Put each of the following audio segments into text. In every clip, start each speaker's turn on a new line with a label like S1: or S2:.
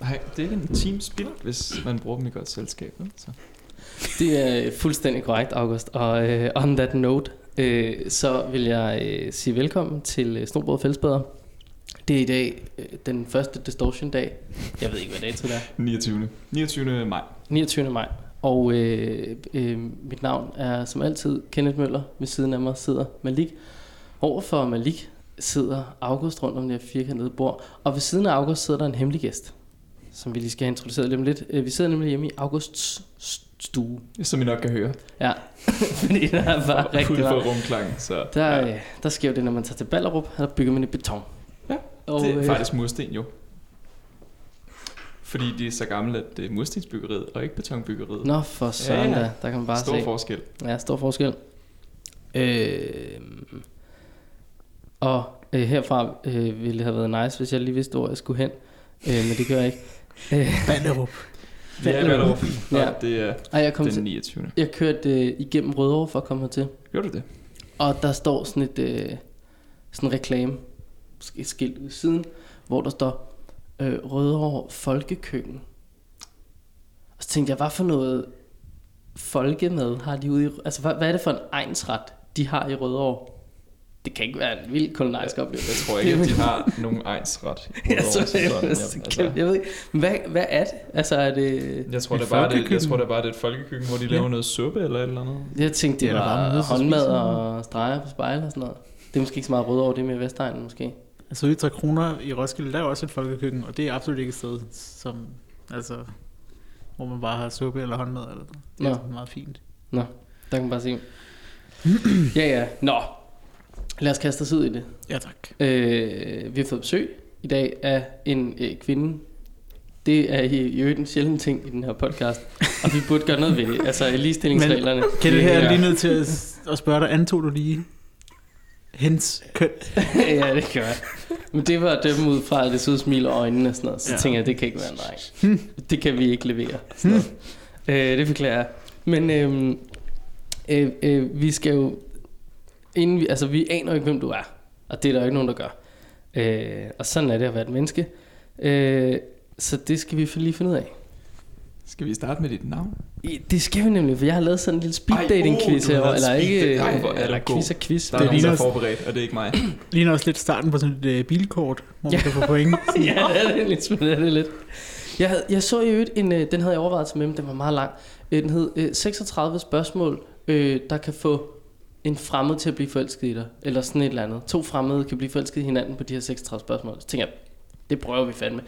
S1: det er ikke en team spil, hvis man bruger dem i godt selskab. vel? Så.
S2: Det er øh, fuldstændig korrekt, August. Og øh, on that note, øh, så vil jeg øh, sige velkommen til øh, Snobrød Fællesbæder. Det er i dag øh, den første Distortion-dag. Jeg ved ikke, hvad dato det er.
S1: 29. 29. maj.
S2: 29. maj. Og øh, øh, mit navn er som altid Kenneth Møller. Ved siden af mig sidder Malik. Overfor Malik sidder August rundt om det her firkantede bord. Og ved siden af August sidder der en hemmelig gæst, som vi lige skal have introduceret lige om lidt. Øh, Vi sidder nemlig hjemme i Augusts stue.
S1: Som I nok kan høre.
S2: Ja, fordi der er bare
S1: Ud
S2: rigtig
S1: for
S2: langt.
S1: rumklangen. Så,
S2: Der,
S1: ja.
S2: ja. der sker jo det, når man tager til Ballerup, der bygger man i beton.
S1: Ja,
S2: og,
S1: det er
S2: øh,
S1: faktisk mursten jo. Fordi de er så gamle, at det er murstensbyggeriet og ikke betonbyggeriet.
S2: Nå, for søren
S1: Ja, ja.
S2: ja, ja. da, der kan man bare
S1: Stor
S2: se.
S1: forskel.
S2: Ja, stor forskel. Øh, og øh, herfra øh, ville det have været nice, hvis jeg lige vidste, hvor jeg skulle hen. Øh, men det gør jeg ikke. Øh,
S3: Ballerup.
S1: Vi er i
S2: Ballerup.
S1: Ballerup,
S2: Ja.
S1: og det er
S2: ej, jeg, kom
S1: den
S2: til,
S1: 29.
S2: jeg kørte øh, igennem Rødovre for at komme hertil.
S1: Gjorde du det?
S2: Og der står sådan et øh, sådan en reklame et skilt ude i siden, hvor der står øh, Rødovre Folkekøkken. Og så tænkte jeg, hvad for noget folkemad har de ude i... Altså, hvad, hvad er det for en egensret, de har i Rødovre? Det kan ikke være en vild kulinarisk
S1: Ja,
S2: oplevelse.
S1: Jeg tror ikke, at de har nogen egnsret.
S2: jeg, tror,
S1: Udover
S2: jeg,
S1: sådan, ja,
S2: jeg,
S1: altså,
S2: jeg ved ikke, hvad, hvad er det? Altså, er det...
S1: Jeg tror,
S3: Et
S1: det er bare det, jeg
S3: folkekøkken.
S1: tror, det er bare det er et folkekøkken, hvor de laver noget suppe eller et eller andet.
S2: Jeg tænkte, det
S3: Eller bare
S2: var
S3: mødes og spise
S2: håndmad
S3: noget.
S2: og streger på spejl og sådan noget. Det er måske ikke så meget Rødovre, det er mere Vestegnen måske.
S3: Altså ude i 3 kroner i Roskilde, der er også et folkekøkken, og det er absolut ikke et sted, som, altså, hvor man bare har suppe eller håndmad. Eller, det
S2: Nå.
S3: er meget fint.
S2: Nå, der kan man bare se. ja, ja. Nå, lad os kaste os ud i det.
S3: Ja, tak.
S2: Øh, vi har fået besøg i dag af en øh, kvinde. Det er i i øvrigt en sjælden ting i den her podcast, og vi burde gøre noget ved det. Altså ligestillingsreglerne.
S3: Kan det her
S1: Ja.
S3: er lige nødt til at, at spørge dig, antog du lige hendes køn?
S2: ja, det kan jeg. Men det var dem ud fra, at det så ud smil og øjnene og sådan noget. Så ja.
S3: Ja.
S2: tænker jeg, det kan ikke være en dreng. det kan vi ikke levere.
S1: Hmm.
S2: Sådan noget. øh, det forklarer jeg. Men øhm, øh, øh, vi skal jo... Inden vi, altså, vi aner jo ikke, hvem du er. Og det er der jo ikke nogen, der gør. Øh, og sådan er det at være et menneske. Øh, så det skal vi lige finde ud af.
S1: Skal vi starte med dit navn?
S2: I- Det skal vi nemlig, for jeg har lavet sådan en lille
S1: Ej,
S2: speed dating
S1: uh,
S2: quiz
S1: du har
S2: herovre.
S1: lavet
S2: Eller
S1: speed
S2: ikke, øh,
S1: dating. Ej, hvor er
S2: eller
S1: du god.
S2: quiz og quiz.
S1: Der er
S3: Det
S1: nogen, der
S3: ligner-
S1: er forberedt, og det er ikke mig.
S3: Ligner også lidt starten på sådan et øh, bilkort, hvor man
S2: Ja.
S3: kan få point.
S2: ja, det er det lidt. Det er det lidt. Jeg, havde, jeg så i øvrigt en, øh, den havde jeg overvejet til med, men den var meget lang. Øh, Den hed øh, 36 spørgsmål, øh, der kan få en fremmed til at blive forelsket i dig. Eller sådan et eller andet. To fremmede kan blive forelsket i hinanden på de her 36 spørgsmål. Så tænker jeg, det prøver vi fandme.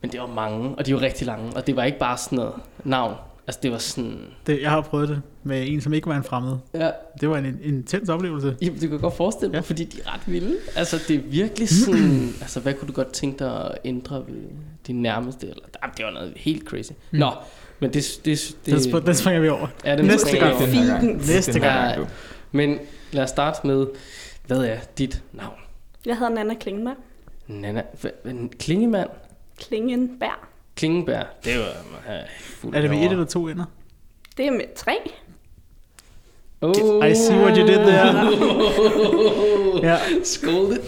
S2: Men det var mange, og de var rigtig lange. Og det var ikke bare sådan noget navn. Altså det var sådan...
S3: Det, jeg har prøvet det med en, som ikke var en fremmed.
S2: Ja,
S3: Det var en, en intens oplevelse.
S2: Jamen, det kunne jeg godt forestille mig, ja.
S3: Ja.
S2: fordi de er ret vilde. Altså, det er virkelig sådan... altså, hvad kunne du godt tænke dig at ændre ved din nærmeste? Eller, ah, det var noget helt crazy. Mm.
S3: Mm.
S2: Nå, men det... det, det
S3: Den, sp- den springer vi over.
S2: er det
S3: næste
S2: måske-
S3: gang.
S1: Den her gang.
S3: Næste
S1: Den her
S2: gang.
S1: gang, du.
S2: Men lad os starte med, hvad er dit navn?
S4: Jeg hedder Nana Klingenberg.
S2: Nana... hva- hva- Klingemand?
S4: Klingenberg.
S2: Klingenberg? Det var... øh, fuld
S3: Er det med et
S2: over.
S3: eller to ender?
S4: Det er med tre.
S2: Oh.
S3: I see what you did there. Ja,
S2: Skål det.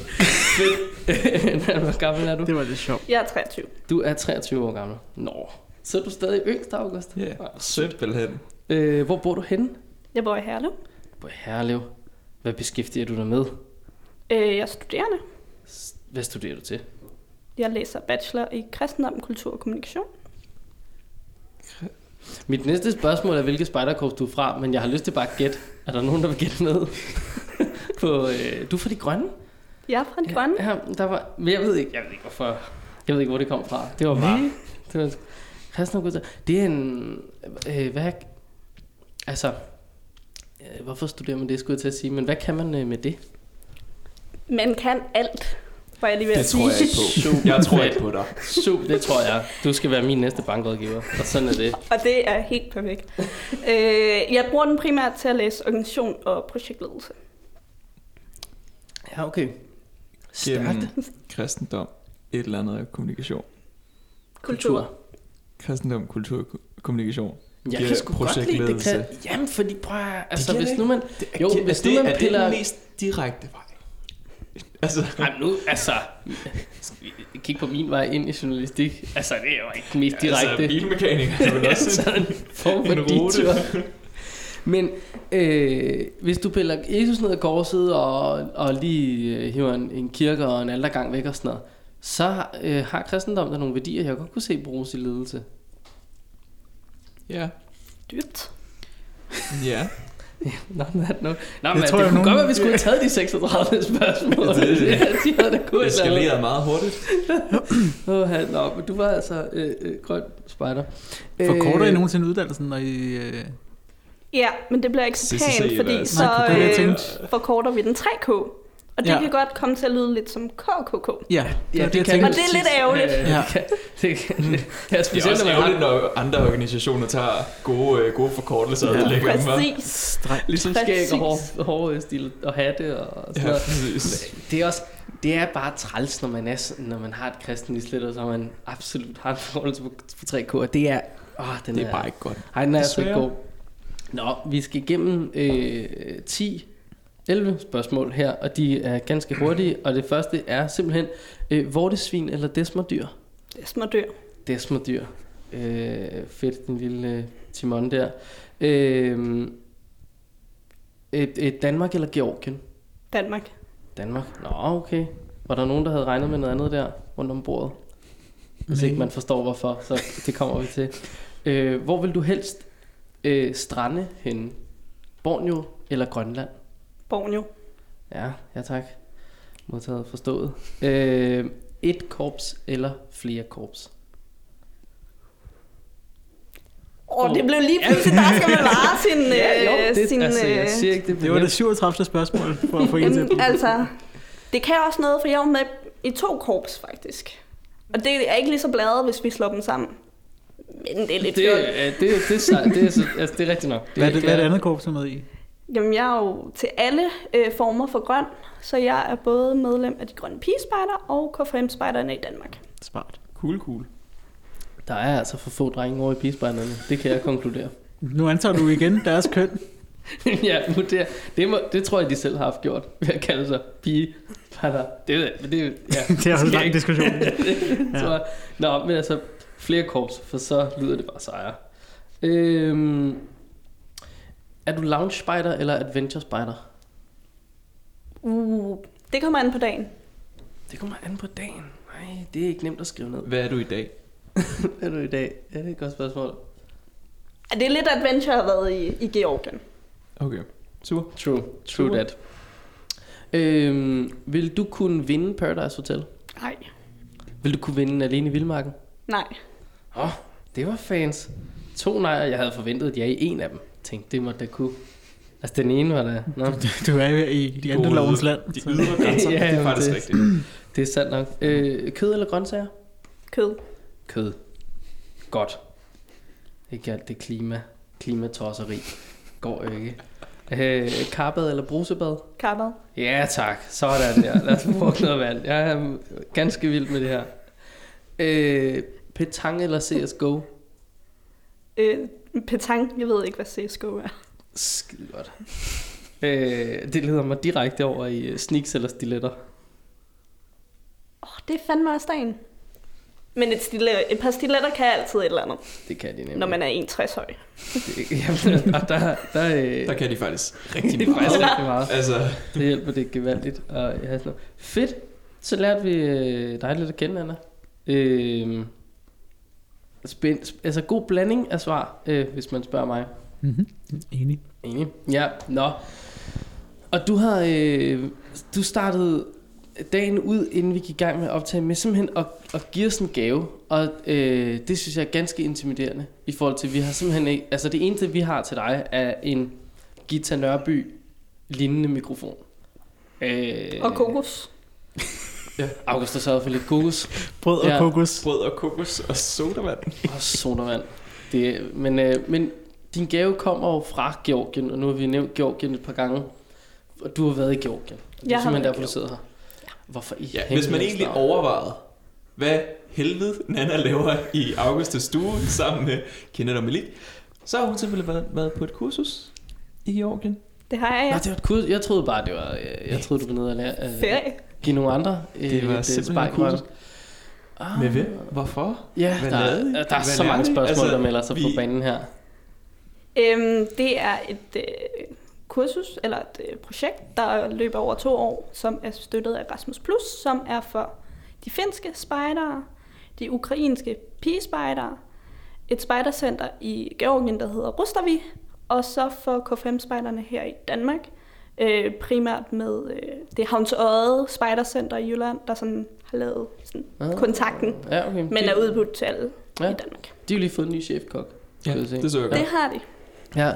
S2: Men, hvor gammel er du?
S3: det var lidt sjovt.
S4: Jeg er 23.
S2: Du er 23 år gammel. Nå. Så er du stadig yngst, August?
S1: Ja,
S2: Ah, sødt.
S1: simpelthen.
S2: Øh, hvor bor du henne?
S4: Jeg bor i Herlev.
S2: På Herlev. Hvad beskæftiger du dig med?
S4: Øh, Jeg er studerende.
S2: S- Hvad studerer du til?
S4: Jeg læser bachelor i kristendom, kultur og kommunikation.
S2: Mit næste spørgsmål er, hvilket spejderkorps du er fra, men jeg har lyst til bare at gætte. Er der nogen, der vil gætte med? på, øh, du er fra De Grønne?
S4: Jeg er fra de grønne.
S2: Ja, der var, men jeg ved ikke, jeg ved ikke, hvorfor. Jeg ved ikke, hvor det kom fra. Det var bare... Det var, kristne Gud, det er en... Øh, hvad, altså, øh, hvorfor studerer man det, skulle jeg til at sige, men hvad kan man øh, med det?
S4: Man kan alt, var jeg lige ved
S1: Det
S4: at
S1: tror jeg
S4: sige.
S1: ikke på.
S2: Super
S1: Jeg tror
S2: fedt.
S1: ikke på dig.
S2: Super, det tror jeg. Du skal være min næste bankrådgiver, og sådan er det.
S4: Og det er helt perfekt. Øh, Jeg bruger den primært til at læse organisation og projektledelse.
S2: Ja, okay.
S1: Gennem
S2: Stærkt.
S1: kristendom, et eller andet og kommunikation.
S4: Kultur.
S1: Kristendom, kultur, ko- kommunikation.
S2: Jeg
S1: Giver
S2: kan sgu godt lide det.
S1: projektledelse.
S2: Kan... Jamen, fordi prøv at, altså,
S1: giver
S2: hvis
S1: det
S2: nu man...
S1: Det,
S2: Jo,
S1: giver-
S2: hvis
S1: er
S2: nu
S1: det,
S2: man
S1: er det
S2: piller-
S1: den mest direkte vej. Altså,
S2: Jamen nu, altså, kig på min vej ind i journalistik. Altså, det er jo ikke den mest direkte.
S1: Altså, bilmekaniker er vel også
S2: sådan en form for
S1: en rute.
S2: detur. Men øh, hvis du piller Jesus ned af korset og, og lige øh, hiver en, en kirke og en aldergang væk og sådan noget, så øh, har kristendommen der nogle værdier, jeg godt kunne se bruges i ledelse.
S1: Ja.
S4: Dyrt.
S1: Ja.
S2: Nå, men er det nok. Nå, men det,
S3: tror
S2: det
S3: jeg,
S2: kunne
S3: nogen-
S2: godt være, vi skulle have taget de 36 spørgsmål.
S1: Det- det-
S2: Ja, de havde da kunnet
S1: Det
S2: lave-
S1: skalerede meget hurtigt.
S2: Åh, nå, men du var altså øh, øh, grøn spejder. Øh.
S3: Forkorter I nogensinde uddannelsen, når I... Øh,
S4: Ja, men det bliver ikke så
S1: CCC
S4: pænt,
S1: eller
S4: fordi
S1: sådan
S4: så
S3: noget. Nej, det er det, jeg
S4: øh, forkorter vi den 3K. Og det
S3: Ja.
S4: ja. kan godt komme til at lyde lidt som KKK.
S3: ja,
S2: Ja,
S3: var
S2: det, det kan
S3: jeg
S4: man. Og
S3: tænkte.
S4: det er lidt ærgerligt.
S2: Ja,
S3: Ja.
S2: det kan, det kan, det, ja,
S1: Det
S2: specielt,
S1: er også
S2: når man har-
S1: ærgerligt, når andre organisationer tager gode, øh, gode forkortelser og
S3: Ja.
S1: lægger dem op.
S4: Præcis.
S3: Streg.
S2: Ligesom skæg og
S4: Præcis.
S2: hår, hårstil og hatte og sådan
S1: Ja,
S2: ja.
S1: præcis.
S2: noget. Det er også, det er bare træls, når man, er, sådan- når man har et kristen islet, og så har man absolut har en forholdelse på, på 3K, og det er, åh, den
S1: Det er bare ikke godt.
S2: Ej, den er altså ikke
S1: Desværre.
S2: god. Nå, vi skal igennem øh, 10, 11 spørgsmål her, og de er ganske hurtige, og det første er simpelthen, øh, vortesvin eller desmodyr?
S4: Det er smådyr.
S2: Desmodyr. Øh, fedt, den lille øh, Timon der. Øh, et, et Danmark eller Georgien?
S4: Danmark.
S2: Danmark. Nå, okay. Var der nogen, der havde regnet med noget andet der rundt om bordet? Hvis
S3: Nej.
S2: ikke man forstår hvorfor, så det kommer vi til. Øh, hvor vil du helst øh, strande henne? Borneo eller Grønland?
S4: Borneo.
S2: Ja, ja tak. Modtaget forstået. Øh, et korps eller flere korps?
S4: Åh,
S2: Åh.
S4: oh, det blev lige pludselig, der skal man vare sin... øh,
S2: jo, det,
S4: sin
S2: altså,
S4: øh,
S2: jeg siger ikke, det
S3: Det
S2: bliver
S3: var det
S2: nemt.
S3: 37. spørgsmål for at få en til.
S4: Jamen, altså, det kan også noget, for jeg var med i to korps, faktisk. Og det er ikke lige så bladet, hvis vi slår dem sammen. Men det er lidt
S2: det,
S4: fjollet.
S2: er- det, det, det, er sej- det, er så- altså, det er rigtigt nok.
S3: Hvad er det, hvad er det
S2: er-
S3: andet korps, du er med i?
S4: Jamen, jeg er jo til alle øh, former for grøn, så jeg er både medlem af de grønne pigespejder og KFM-spejderne i Danmark.
S3: Smart.
S1: Cool, cool.
S2: Der er altså for få drenge over i pigespejlerne. Det kan jeg konkludere.
S3: Nu antager du igen deres køn.
S2: ja, vurder. Det, må, det tror jeg, de selv har haft gjort, ved at kalde sig pige. Patter. Det, ved jeg, men det, ja,
S3: det er jo en
S2: Skal
S3: lang
S2: ikke.
S3: diskussion.
S2: det tror jeg. Nå, men altså, flere korps, for så lyder det bare sejre. Øhm, er du lounge spider eller adventure spider?
S4: Uh, det kommer an på dagen.
S2: Det kommer an på dagen. Nej, det er ikke nemt at skrive ned.
S1: Hvad er du i dag?
S2: Hvad er du i dag? Ja, det er et godt spørgsmål.
S4: Ah, Det er lidt adventure at have været i, i Georgien.
S1: Okay. Super.
S2: True, true
S1: True.
S2: that. Øhm, vil du kunne vinde Paradise Hotel?
S4: Nej,
S2: Vil du kunne vinde Alene i Vildmarken?
S4: nej.
S2: Åh, oh, det var fans. To nejer, jeg havde forventet, at jeg i en af dem. Tænkte, det måtte da kunne. Altså, den ene var da... Nå,
S3: Du er jo i de andre lovens land.
S1: De
S3: så-
S1: ydre grænser,
S2: Ja,
S1: ja, det er
S2: jamen,
S1: faktisk
S2: det-
S1: rigtigt.
S2: det er sandt nok. Øh, kød eller grøntsager?
S4: Kød.
S2: Kød. Godt. Ikke alt det klima, klimatosseri. Går jo ikke. Øh, karbad eller brusebad?
S4: Karpad.
S2: Ja tak, sådan der. Lad os få noget vand. Jeg er mm, ganske vild med det her. Øh, petang eller CSGO?
S4: Øh, petang. Jeg ved ikke, hvad CSGO er.
S2: Skide godt. Øh, det leder mig direkte over i øh, sneaks eller stiletter.
S4: Åh, det er fandme også dagen. Men et, stille, et par stiletter kan altid et eller andet,
S2: Det kan de nemlig.
S4: når man er 1,60 høj.
S2: Det- Jamen, og der, der, øh,
S1: Der kan de faktisk rigtig
S2: det er
S1: meget.
S2: faktisk rigtig meget.
S1: Altså,
S2: Det hjælper det gevaldigt. Og, ja, sådan noget. Fedt. Så lærte vi øh, dig lidt at kende, Anna. Øh, spænd, sp- altså god blanding af svar, øh, hvis man spørger mig.
S1: Mm-hmm.
S3: Mhm. Enig.
S2: Enig. Ja, nå. Og du har øh, du startede dagen ud, inden vi gik i gang med at optage, med simpelthen at, at give os en gave. Og øh, det synes jeg er ganske intimiderende i forhold til, at vi har simpelthen ikke... Altså det eneste, vi har til dig, er en Gita Nørby lignende mikrofon. Øh,
S4: Og kokos.
S2: August har sørget for lidt kokos.
S3: Brød og
S2: Ja.
S3: kokos.
S1: brød og kokos og sodavand.
S2: Og sodavand. Det, men, øh, men din gave kommer jo fra Georgien, og nu har vi nævnt Georgien et par gange. Og du har været i Georgien. Og det er
S4: Jeg har
S2: simpelthen
S4: været i
S2: derfor, du sidder her. Hvorfor i
S1: Ja, hvis
S2: helvede
S1: man egentlig
S2: snart?
S1: overvejede, hvad helvede Nana laver i Augustes stue sammen med Kenneth og Malik, så har hun simpelthen været, været på et kursus i Georgien
S4: Det har jeg,
S2: Ja. Nå,
S4: ja.
S2: det var et kursus. Jeg troede bare, det var... Jeg, jeg troede, du var nede og lære... Øh,
S4: Ferie.
S2: give nogle andre øh,
S1: Det var
S2: et,
S1: simpelthen
S2: spark i
S1: kursus.
S2: røven. Ah,
S1: Med hvem? Hvorfor?
S2: Ja,
S1: Hvad
S2: der,
S1: lavede I?
S2: er, der
S1: Hvad
S2: er så mange
S1: lærte I?
S2: spørgsmål, altså,
S1: Altså,
S2: der melder sig vi... på
S1: vi-
S2: banen her.
S4: Øhm, det er et øh, kursus, eller et øh, projekt, der løber over to år, som er støttet af Erasmus+, Plus, som er for de finske spejdere, de ukrainske pigespejdere, et spejdercenter i Georgien, der hedder Rustavi, og så for K5-spejderne her i Danmark, øh, primært med øh, det Havnsøjet Spejdercenter i Jylland, der sådan har lavet sådan
S2: Ah.
S4: kontakten,
S2: Ja, okay.
S4: men
S2: de,
S4: er udbudt til alle
S2: Ja.
S4: i Danmark.
S2: de har lige fået en ny chefkok.
S1: Ja,
S2: skulle jeg se.
S1: det så jeg
S4: Det
S1: godt.
S4: har de.
S2: Ja.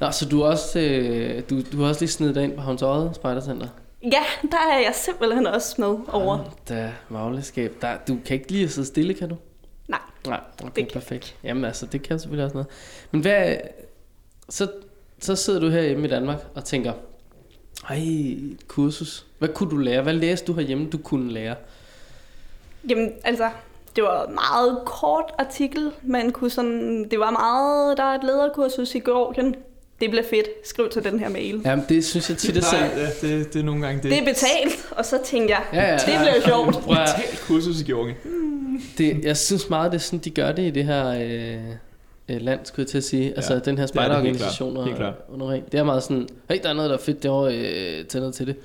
S2: Nå, så du har også, øh, du, du har også lige snedet dig ind på Havns Øje Spejdercenter?
S4: Ja, der er jeg simpelthen også med over.
S2: Ah, Da, magleskab. Der, du kan ikke lige at sidde stille, kan du?
S4: Nej.
S2: Nej, okay,
S4: kan
S2: det
S4: jeg
S2: perfekt. Jamen altså, det kan selvfølgelig også noget. Men hvad, så, så sidder du herhjemme i Danmark og tænker, ej, et kursus. Hvad kunne du lære? Hvad læste du herhjemme, du kunne lære?
S4: Jamen, altså, det var en meget kort artikel. Man kunne sådan, det var meget, der er et lederkursus i Georgien. Det bliver fedt. Skriv til den her mail. Ja.
S2: Jamen, det synes jeg tit er
S1: Nej,
S2: sådan.
S1: ja, det, det er nogle gange det.
S4: Det er betalt, og så tænkte jeg,
S2: Ja, ja.
S4: det bliver sjovt.
S2: Prøv at-
S1: Betalt kursus i Georgien.
S2: Det, jeg synes meget, det er sådan, de gør det i det her øh, øh, land, skulle jeg til at sige. Altså
S1: Ja,
S2: den her
S1: det er det helt klart.
S2: spejderorganisation og
S1: Helt klart.
S2: under ring. Det er meget sådan, hey, der er noget, der er fedt derovre, øh, tag ned til det.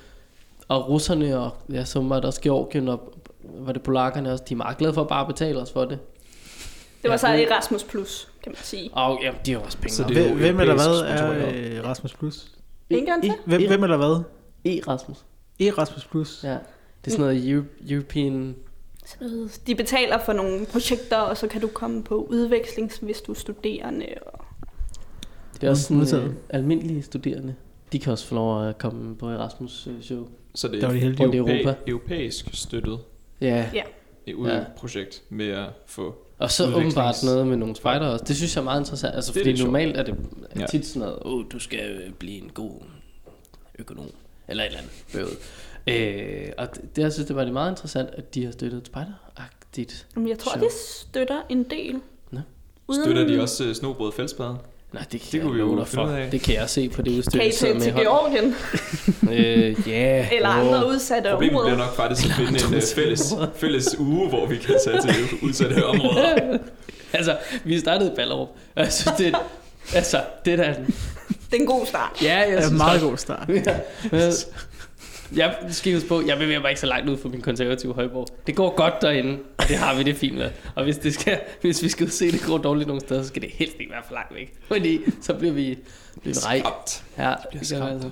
S2: Og russerne og ja, så var det også Georgien og var det polakkerne også, de er meget glade for at bare betale os for det.
S4: Det var så
S2: Ja.
S4: Erasmus Plus, kan man sige.
S2: Og ja, de har også penge.
S1: Så
S2: Så
S1: det-
S2: det...
S1: er jo
S3: Hvem, hvem eller hvad
S1: europæisk
S3: er
S1: sponsoreret.
S3: øh, Rasmus Plus?
S4: En gang til?
S3: Hvem, hvem eller hvad
S2: E, Rasmus.
S3: er Rasmus Plus?
S2: Ja. Det er sådan noget Euro- European...
S4: Sådan noget. øh, De betaler for nogle projekter, og så kan du komme på udveksling, hvis du er studerende. Og...
S2: Det er også sådan
S3: Modtaget.
S2: øh, almindelige studerende. De kan også få lov at komme på Erasmus øh, show.
S1: Så det
S3: Der
S1: er
S3: var de
S1: et
S3: heldige.
S2: Rundt i Europa.
S1: europæ- europæisk støttet
S2: Ja.
S1: ud
S2: Ja.
S1: projekt med at få...
S2: Og så
S1: Udviklings-
S2: åbenbart noget med nogle spejder også. Det synes jeg er meget interessant. Altså,
S1: Det er
S2: fordi
S1: lidt sjovt.
S2: normalt er det
S1: Ja.
S2: tit sådan noget, åh, oh, du skal øh, blive en god økonom. Eller et eller andet bøvet. Øh, og det, det, jeg synes, det var det meget interessant, at de har støttet et spejderagtigt.
S4: Jamen, jeg tror,
S2: Sjovt.
S4: de støtter en del.
S2: Nå.
S1: Støtter de også øh, snobrød og fældspaden?
S2: Nej, det kan,
S1: Det kunne
S2: jeg
S1: vi jo
S2: love dig
S1: finde ud
S2: for.
S1: af.
S2: Det kan jeg se på det udstyr,
S4: Kan I
S2: jeg sidder
S4: tage
S2: med i
S4: til
S2: hånden.
S4: Georgien?
S2: Øh, ja.
S4: Eller
S2: åh.
S4: andre udsatte
S1: Problemet
S4: områder?
S1: bliver nok faktisk at finde en øh, fælles, fælles uge, hvor vi kan tage til udsatte områder.
S2: altså, vi startede i Ballerup. og Jeg synes, det er, altså, det er da...
S4: Det er en god start.
S2: Ja, jeg
S3: Ja,
S2: synes
S3: meget
S2: også-
S3: god start.
S2: Ja, men- jeg skal huske på, jeg bevæger mig ikke så langt ud fra min konservative højborg. Det går godt derinde, og det har vi det fint med. Og hvis, det skal, hvis vi skal ud og se, det går dårligt nogle steder, så skal det helst ikke være for langt væk. Fordi så bliver vi, bliver vi rej.
S1: Skabt.
S2: Ja,
S1: bliver
S2: det gør
S1: skræmt.
S2: vi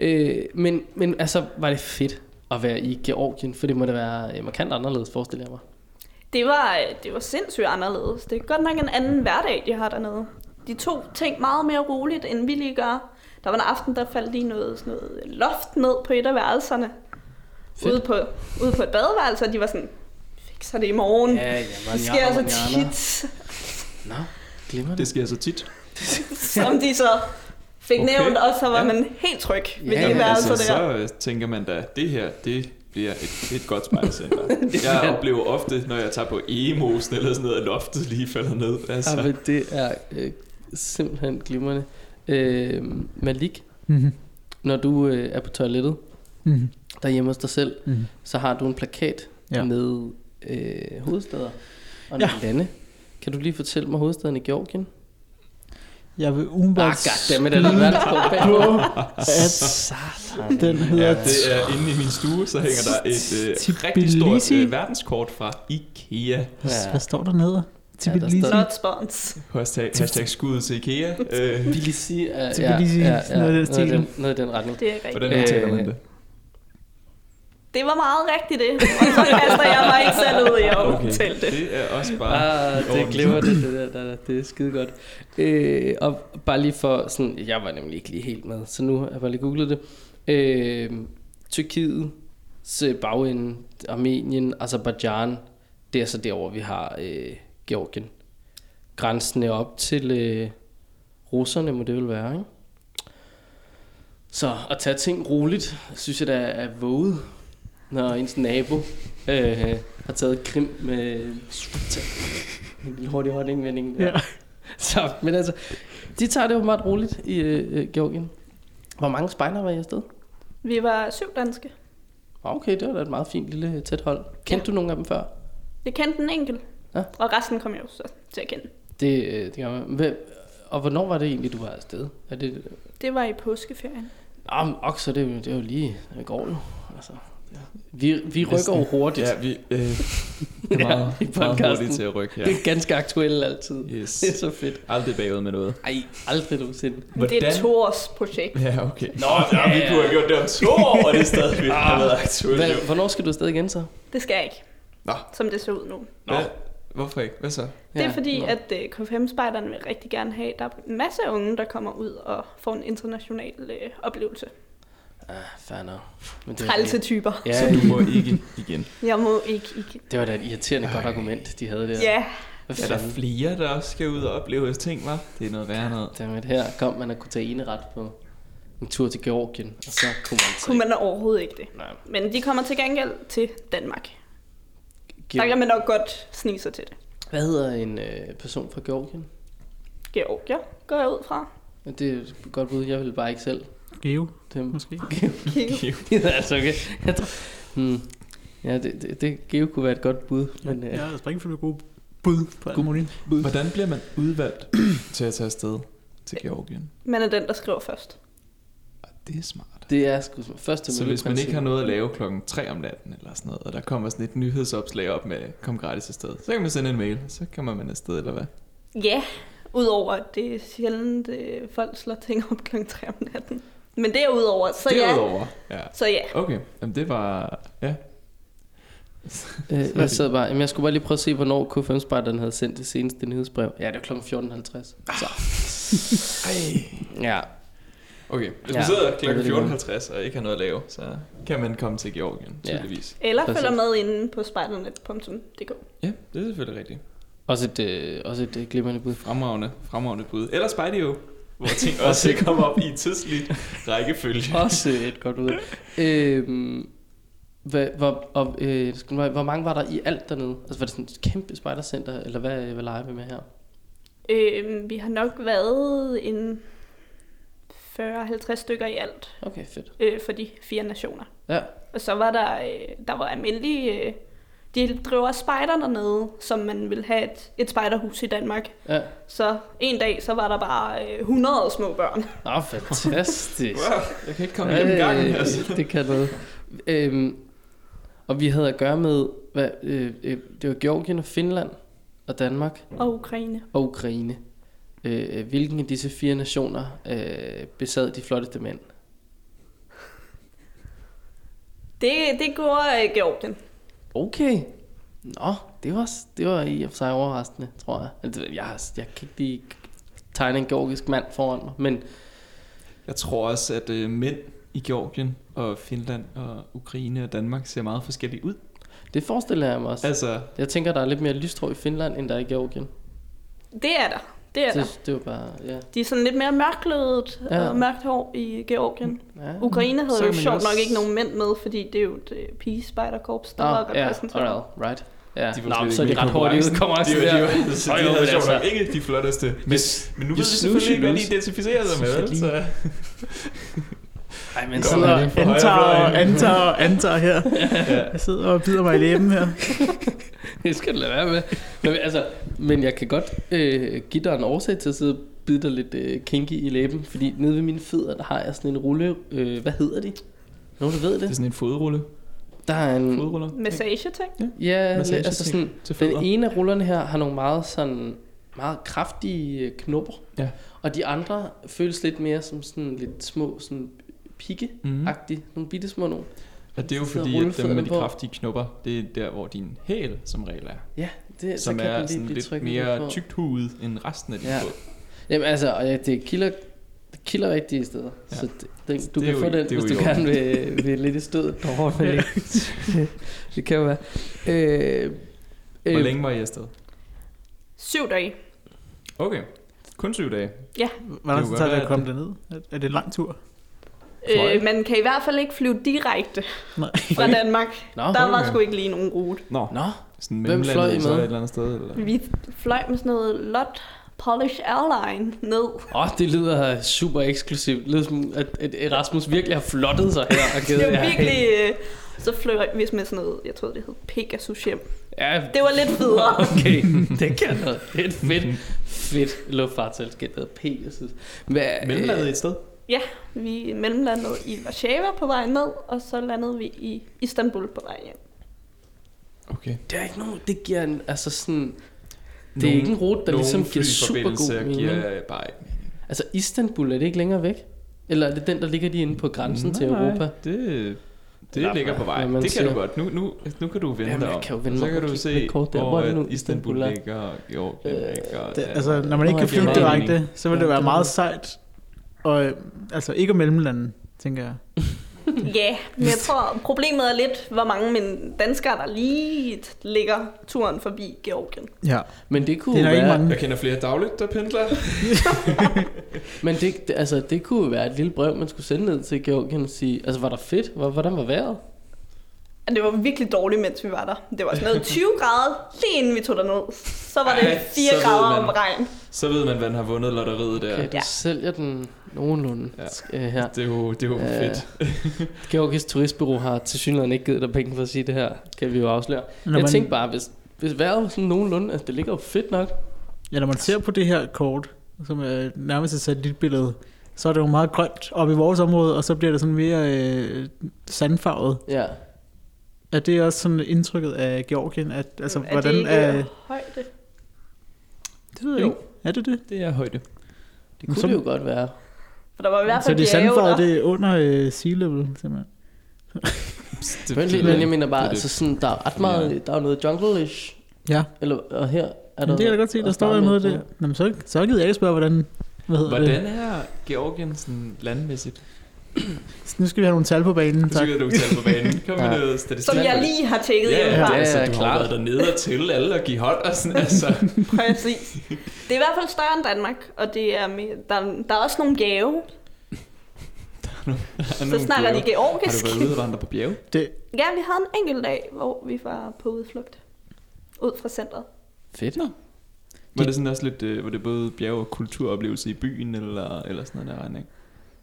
S2: altså. Øh, men, men altså, var det fedt at være i Georgien? For det må da være øh, markant anderledes, forestiller jeg mig.
S4: Det var, øh, det var sindssygt anderledes. Det er godt nok en anden hverdag, de har dernede. De to ting meget mere roligt, end vi lige gør. Der var en aften, der faldt lige noget, sådan noget loft ned på et af værelserne.
S2: Fedt.
S4: Ude på, ude på et badeværelse, og de var sådan, fikser det i morgen. Ja, det sker så tit,
S2: Nå, glemmer
S1: Det
S2: det.
S1: sker så tit.
S4: som de så fik
S1: Okay.
S4: okay. nævnt, og så var
S1: Ja.
S4: ja. man helt tryg ved
S2: Ja,
S4: ja, de
S2: men
S4: værelser
S1: altså,
S4: altså, der.
S1: så øh, tænker man da, det her, det bliver et, et godt spejlcenter. jeg oplever ofte, når jeg tager på emosen eller sådan noget, at loftet lige falder ned. Altså,
S2: Ja, men det er øh, simpelthen glimrende. Øh, Malik,
S3: Mhm.
S2: når du øh, er på toilettet
S3: Mhm.
S2: derhjemme hos dig selv,
S3: Mhm.
S2: så har du en plakat ja.
S3: Ja.
S2: med øh, hovedsteder og
S3: Ja.
S2: ja. lande. Kan du lige fortælle mig hovedstaden i Georgien?
S3: Jeg vil
S2: Ah,
S3: umiddelbart
S2: goddammit, er det verdenskort
S3: på,
S2: bagpå?
S3: at
S2: Satan.
S3: den
S1: ja,
S3: hedder...
S1: det er inde i min stue, så hænger der et øh, rigtig stort
S3: Tbilisi.
S1: øh, verdenskort fra IKEA.
S2: Ja.
S3: Hvad står der nede? Tbilisi.
S2: står-
S4: Not spons.
S1: Hashtag, hashtag skuddet til IKEA. Øh,
S2: Tbilisi er
S3: Tbilisi, sådan noget i den
S2: noget, i
S3: stil.
S2: den, noget i den retning.
S4: Det er rigtigt.
S1: hvordan udtaler man det?
S4: Det var meget rigtigt det, og så kaster jeg mig ikke selv ud i at okay. det.
S1: Øh, det er også bare...
S2: Ah,
S1: i orden.
S2: det glemmer det, det der, der, der, det er skide godt. Øh, og bare lige for sådan, jeg var nemlig ikke lige helt med, så nu har jeg bare lige googlet det. Øh, Tyrkiets øh, bagende, Armenien, Azerbaijan, det er så derovre, vi har øh, Georgien. Grænsen er op til øh, russerne, må det vel være, ikke? Så at tage ting roligt, synes jeg da er våget, når ens nabo øh, har taget krim med en lille hurtig håndindvending. Der. Ja.
S3: Ja.
S2: Så, men altså, de tager det åbenbart roligt i øh, øh, Georgien. Hvor mange spejder var I afsted?
S4: Vi var syv danske.
S2: Okay, det var da et meget fint lille øh, tæt hold. Kendte ja. du nogen af dem før?
S4: Jeg kendte den enkelt,
S2: Ja.
S4: ja. og resten kom jeg jo så til at kende.
S2: Det, øh, det gør man. Hvem, og hvornår var det egentlig, du var afsted? Er det,
S4: Det var i påskeferien.
S2: Nå, Ah, men okser, det, er jo- det er jo lige i går jo. Altså, vi, vi rykker jo hurtigt.
S1: Ja, vi øh, er
S2: Ja,
S1: meget,
S2: i
S1: ja, meget
S2: podcasten.
S1: hurtigt til at rykke her.
S2: Det er ganske aktuelt altid.
S1: Yes.
S2: Det er så fedt.
S1: Aldrig bagud med noget.
S2: Ej, aldrig nogensinde.
S4: Hvordan? Det er
S1: Hvordan-
S4: et toårs projekt.
S1: Ja, okay. Ah.
S2: Nå, ja,
S1: vi kunne have gjort det om to år, og det er stadigvæk har været aktuelt.
S2: Hvad,
S1: jo.
S2: hvornår skal du afsted igen så?
S4: Det skal jeg ikke,
S1: Nå.
S4: som det ser ud nu.
S2: Nå.
S1: Hvad? Hvorfor ikke? Hvad så?
S4: Det er fordi,
S2: nå.
S4: at uh, KFM-spejderne vil rigtig gerne have, at der er en masse unge, der kommer ud og får en international øh, oplevelse.
S2: Ah, fair nok. Men det, var-
S4: Trælse typer.
S2: Ja,
S1: Så du må ikke igen.
S4: Jeg må ikke, ikke.
S2: det var da et irriterende godt argument, de havde der.
S4: Ja,
S2: Hvad
S1: Er der
S2: fanden?
S1: flere, der også skal ud og opleve ting, var? Det er noget værre noget.
S2: Dammit, her kom man at kunne tage eneret på en tur til Georgien, og så kunne man
S4: kunne
S2: tage...
S4: man overhovedet ikke det.
S2: Nej,
S4: Men de kommer til gengæld til Danmark. Der kan
S2: Georg...
S4: man nok godt snige sig til det.
S2: Hvad hedder en øh, person fra Georgien?
S4: Georgia går jeg ud fra.
S2: Det er et godt bud, jeg vil bare ikke selv.
S3: Geo,
S2: Dem.
S3: måske.
S2: altså, okay. Jeg tror... hmm. Ja, det, det, det Geo kunne være et godt bud, men... Øh,
S3: Ja, der springer for gode bud på alt muligt.
S1: Hvordan bliver man udvalgt til at tage afsted til Georgien?
S4: Man er den, der skriver først.
S1: Og Ah, det er smart.
S2: Det er sgu som- først til
S1: Så hvis man ikke har noget at lave klokken 3 om natten eller sådan noget, og der kommer sådan et nyhedsopslag op med, kom gratis afsted, så kan man sende en mail, så kommer man afsted, eller hvad?
S4: Ja, udover at det er sjældent, øh, folk slår ting op kl. 3 om natten. Men derudover, så ja.
S1: Derudover. Ja.
S4: Så ja,
S1: Okay, Jamen, det var... Ja.
S2: Øh, jeg, sad bare, jamen, jeg skulle bare lige prøve at se, hvornår k 5 spejderen havde sendt det seneste nyhedsbrev. Ja, det var kl. 14.50. Så. Ja,
S1: Okay, hvis
S2: Ja,
S1: man sidder
S2: det er det, det
S1: klokken 14.50 og ikke har noget at lave, så kan man komme til Georgien,
S2: Ja.
S1: tydeligvis.
S4: eller
S2: Præcis.
S4: følger med inde på spejdernet.dk.
S1: Ja, det er selvfølgelig rigtigt.
S2: også et, øh, også et øh, glimrende bud.
S1: Fremragende, fremragende bud. Eller Spideo, hvor ting også kommer op i tidslig rækkefølge.
S2: Også et godt ud. Øhm, hvad, hvor, og, øh, skal man- hvor mange var der i alt dernede? Altså var det sådan et kæmpe spejdercenter, eller hvad, øh, hvad leger vi med her?
S4: Øh, vi har nok været en 40-50 stykker i alt
S2: Okay, fedt.
S4: øh, for de fire nationer.
S2: Ja,
S4: Og så var der, øh, der var almindelige... Øh, de driver spejder dernede, som man ville have et, et spejderhus i Danmark.
S2: ja.
S4: Så en dag, så var der bare øh, 100 små børn.
S2: Nå, fantastisk.
S1: Wow, jeg kan ikke komme igennem
S2: Øh,
S1: gangen her.
S2: Det kan noget. Øhm, og vi havde at gøre med, hvad, øh, øh, det var Georgien og Finland og Danmark
S4: Og Ukraine.
S2: og Ukraine. Øh, hvilken af disse fire nationer øh, besad de flotteste mænd?
S4: Det, det gjorde øh, Georgien.
S2: Okay. Nå, det var, det var i og for sig overraskende, tror jeg. Altså, Jeg, har- jeg kan ikke lige tegne en georgisk mand foran mig, men
S1: Jeg tror også, at øh, mænd i Georgien og Finland og Ukraine og Danmark ser meget forskellige ud.
S2: det forestiller jeg mig også.
S1: Altså,
S2: Jeg tænker, der er lidt mere lystrå i Finland, end der er i Georgien.
S4: Det er der. Det er der.
S2: Det, det var bare, ja.
S4: De er sådan lidt mere mørklødet
S2: Ja.
S4: ja. og mørkt hår i Georgien.
S2: ja.
S4: Ukraine
S1: Så
S4: havde
S1: kan
S4: jo
S1: man
S4: sjovt
S1: også-
S4: nok ikke nogen mænd med, fordi det er jo et øh, pigespejderkorps, der
S2: Nå,
S4: var
S2: ja,
S4: repræsenteret.
S2: all right. Ja,
S1: de
S2: de
S1: var slet
S2: Nå,
S1: ikke
S2: så er
S1: med
S2: de
S1: i
S2: ret hurtigt ude i konkurrencen
S1: De, var- de,
S2: der.
S1: var- så
S2: Øj,
S1: de
S2: øj,
S1: havde sjovt
S2: altså.
S1: nok ikke de flotteste. Men, men nu ved
S2: you
S1: vi selvfølgelig ikke, hvad de
S2: snooze.
S1: identificerer sig med. altså. vel? Så,
S2: Ej, men
S1: Kom,
S2: sådan
S3: Sidder
S2: er
S3: og
S2: det.
S1: Henning. højre
S3: antager,
S1: fløjen.
S3: antager, antager her.
S1: ja.
S3: Jeg sidder og bider mig i læben her.
S2: Det skal du lade være med. Men, altså, men jeg kan godt øh, give dig en årsag til at sidde og bide dig lidt øh, kinky i læben, fordi nede ved mine fødder, der har jeg sådan en rulle... Øh, hvad hedder de? Nogen, der ved
S1: Det er
S2: det?
S1: sådan en fodrulle.
S2: Mm. Der er en...
S1: Fodruller.
S4: Massageting.
S2: Ja,
S1: Massageting
S2: altså sådan,
S1: til
S2: den
S1: fødder.
S2: ene af rullerne her har nogle meget sådan meget kraftige øh, knopper,
S1: Ja.
S2: og de andre føles lidt mere som sådan lidt små sådan pigge
S1: Mhm.
S2: agtige nogle bitte små nogle.
S1: Og det er jo
S2: Så sidder
S1: fordi, at dem
S2: rullefødderne
S1: med de
S2: på.
S1: kraftige knopper, det er der, hvor din hæl som regel er.
S2: Ja, det, så
S1: Som
S2: kan
S1: er
S2: den lige
S1: sådan
S2: blive
S1: lidt
S2: trykket
S1: mere
S2: på.
S1: tykt hud end resten af din
S2: Ja.
S1: fod.
S2: Jamen altså, og ja, det kilder, det kilder rigtige steder. Ja.
S1: Ja. Altså,
S2: Så det, den, du
S1: Det er
S2: kan
S1: jo-
S2: få den,
S1: det er jo
S2: hvis
S1: i
S2: du
S1: orden.
S2: gerne vil, øh, vil lidt i stød. Dår, men det, det kan jo være. Øh,
S1: Hvor længe var I afsted?
S4: Syv dage.
S1: Okay, kun syv dage.
S3: Hvor lang
S1: Det
S3: tid
S1: kunne
S3: tager det
S1: godt
S3: at komme derned? Er- Er det en lang tur?
S1: Fløj.
S4: Øh, man kan i hvert fald ikke flyve direkte
S3: Nej.
S4: fra Danmark.
S2: Nå,
S4: Der var
S1: okay.
S4: sgu ikke lige nogen rute.
S1: Nå,
S2: Nå,
S1: sådan
S2: Hvem fløj I
S1: mellemlandet
S2: Øh,
S1: så
S2: med?
S1: et eller andet sted? Eller?
S4: Vi fløj med sådan noget lot Polish Airline ned.
S2: Åh, oh, det lyder super eksklusivt. Det lyder som, at, at Erasmus virkelig har flottet sig her og givet
S4: Det
S2: jer
S4: var
S2: hen.
S4: virkelig... Øh, så fløj vi med sådan noget, jeg tror det hed Pegasus hjem.
S2: Ja,
S4: Det var lidt federe.
S2: Okay, det kan noget. Det er et fedt, fedt luftfartsselskab, der hedder Pegasus. Hvad, øh,
S1: Mellemlandet et sted.
S4: Vi mellemlandede i Warszawa på vej ned, og så landede vi i Istanbul på vej hjem.
S1: Okay.
S2: Det er ikke nogen, det giver en, altså sådan, det er
S1: Nogle-
S2: ikke en rute, der
S1: Nogle
S2: ligesom giver super
S1: flyforbindelser
S2: god mening.
S1: Giver bare ikke mening.
S2: Altså Istanbul, er det ikke længere væk? Eller er det den, der ligger lige inde på grænsen til
S1: Nej,
S2: Europa?
S1: Det, det
S2: Eller
S1: ligger på
S2: hvad
S1: vej. Det
S2: man
S1: kan
S2: siger.
S1: du godt. Nu, nu, nu kan du vende
S2: Jamen,
S1: dig
S2: jeg
S1: om.
S2: kan jo vende
S1: Og så
S2: mig
S1: kan
S2: om.
S1: du
S2: Kig
S1: se,
S2: lidt kort der.
S1: hvor
S2: Hvor er det
S1: øh,
S2: nu,
S1: Istanbul
S2: Istanbul er?
S1: ligger. og Georgien
S2: Øh,
S1: ligger. og-
S3: Det,
S1: ja,
S3: altså, når man
S2: Nå,
S3: ikke kan
S2: det giver
S3: flyve
S2: meget
S1: mening.
S3: direkte, så vil det
S2: Ja,
S3: være
S2: det er
S3: meget
S2: det.
S3: sejt. Og, øh, altså ikke at mellemlande, tænker jeg.
S4: Ja, yeah, men jeg tror, problemet er lidt, hvor mange men danskere, der lige ligger turen forbi Georgien.
S3: Ja.
S2: Men det kunne
S3: Det er der
S2: jo
S3: ikke
S2: være,
S3: mange.
S1: Jeg kender flere dagligt, der pendler.
S2: men det, det- altså, det kunne jo være et lille brev, man skulle sende ned til Georgien og sige, altså var der fedt? Hvor- Hvordan var vejret?
S4: Og det var virkelig dårligt, mens vi var der. Det var sådan noget 20 grader, lige inden vi tog derned. Så var det
S1: Ej,
S4: 4
S1: så ved
S4: grader om
S1: man.
S4: regn.
S1: Så ved man, hvad han har vundet lotteriet der.
S2: Okay, du
S4: Ja.
S2: sælger den nogenlunde
S1: Ja.
S2: øh, her.
S1: Det er jo, det er jo
S2: Øh,
S1: fedt.
S2: Georgisk turistbureau har til synligheden ikke givet dig penge for at sige det her, kan vi jo afsløre.
S3: Når
S2: Jeg
S3: man,
S2: tænkte bare, hvis, hvis vejret var sådan nogenlunde, altså det ligger jo fedt nok.
S3: ja, når man ser på det her kort, som er nærmest et satellitbillede, så er det jo meget grønt op i vores område, og så bliver det sådan mere øh, sandfarvet.
S2: Ja.
S3: Er det også sådan indtrykket af Georgien? At, altså,
S4: er
S3: hvordan
S4: det ikke
S3: er...
S4: højde?
S3: Det ved jeg
S1: Jo.
S3: ikke. Er det det?
S1: Det er højde.
S2: Det kunne
S3: så-
S2: det jo godt være.
S4: For der var i hvert
S3: Så
S4: fald
S3: det er
S4: bjerge der.
S3: sandfarvet, det er under øh, sea level, simpelthen.
S1: Det,
S2: Men, lige, men jeg mener bare,
S1: det er det.
S2: altså sådan, der er ret meget, der er jo noget jungle-ish.
S3: Ja,
S2: Eller, og her er der...
S3: men det kan jeg da godt se, der står der noget der. Nå, men så, så gider jeg ikke spørge, hvordan... Hvad hedder
S1: Hvordan er Georgien sådan landmæssigt?
S3: det? Nu skal vi have nogle tal på banen,
S1: Nu
S3: tak.
S1: synes jeg, du kan tage på banen. Kom med
S2: Ja.
S1: noget statistik.
S4: Som jeg lige har tjekket
S1: Ja,
S4: yeah,
S1: ja,
S4: hjemmefra.
S1: ja, altså,
S2: Ja,
S1: du har
S2: klart.
S1: jo været dernede og til alle og give hånd og sådan, altså.
S4: Præcis. Det er i hvert fald større end Danmark, og det er med, der, der er også nogle bjerge. Så snakker de
S1: Har du
S4: georgisk.
S1: været ude og vandre på bjerge?
S3: Det,
S4: Ja, vi havde en enkelt dag, hvor vi var på udflugt. Ud fra centret.
S2: Fedt.
S1: Var det sådan også lidt, øh, var det både bjerge og kulturoplevelse i byen, eller, eller sådan noget der regning?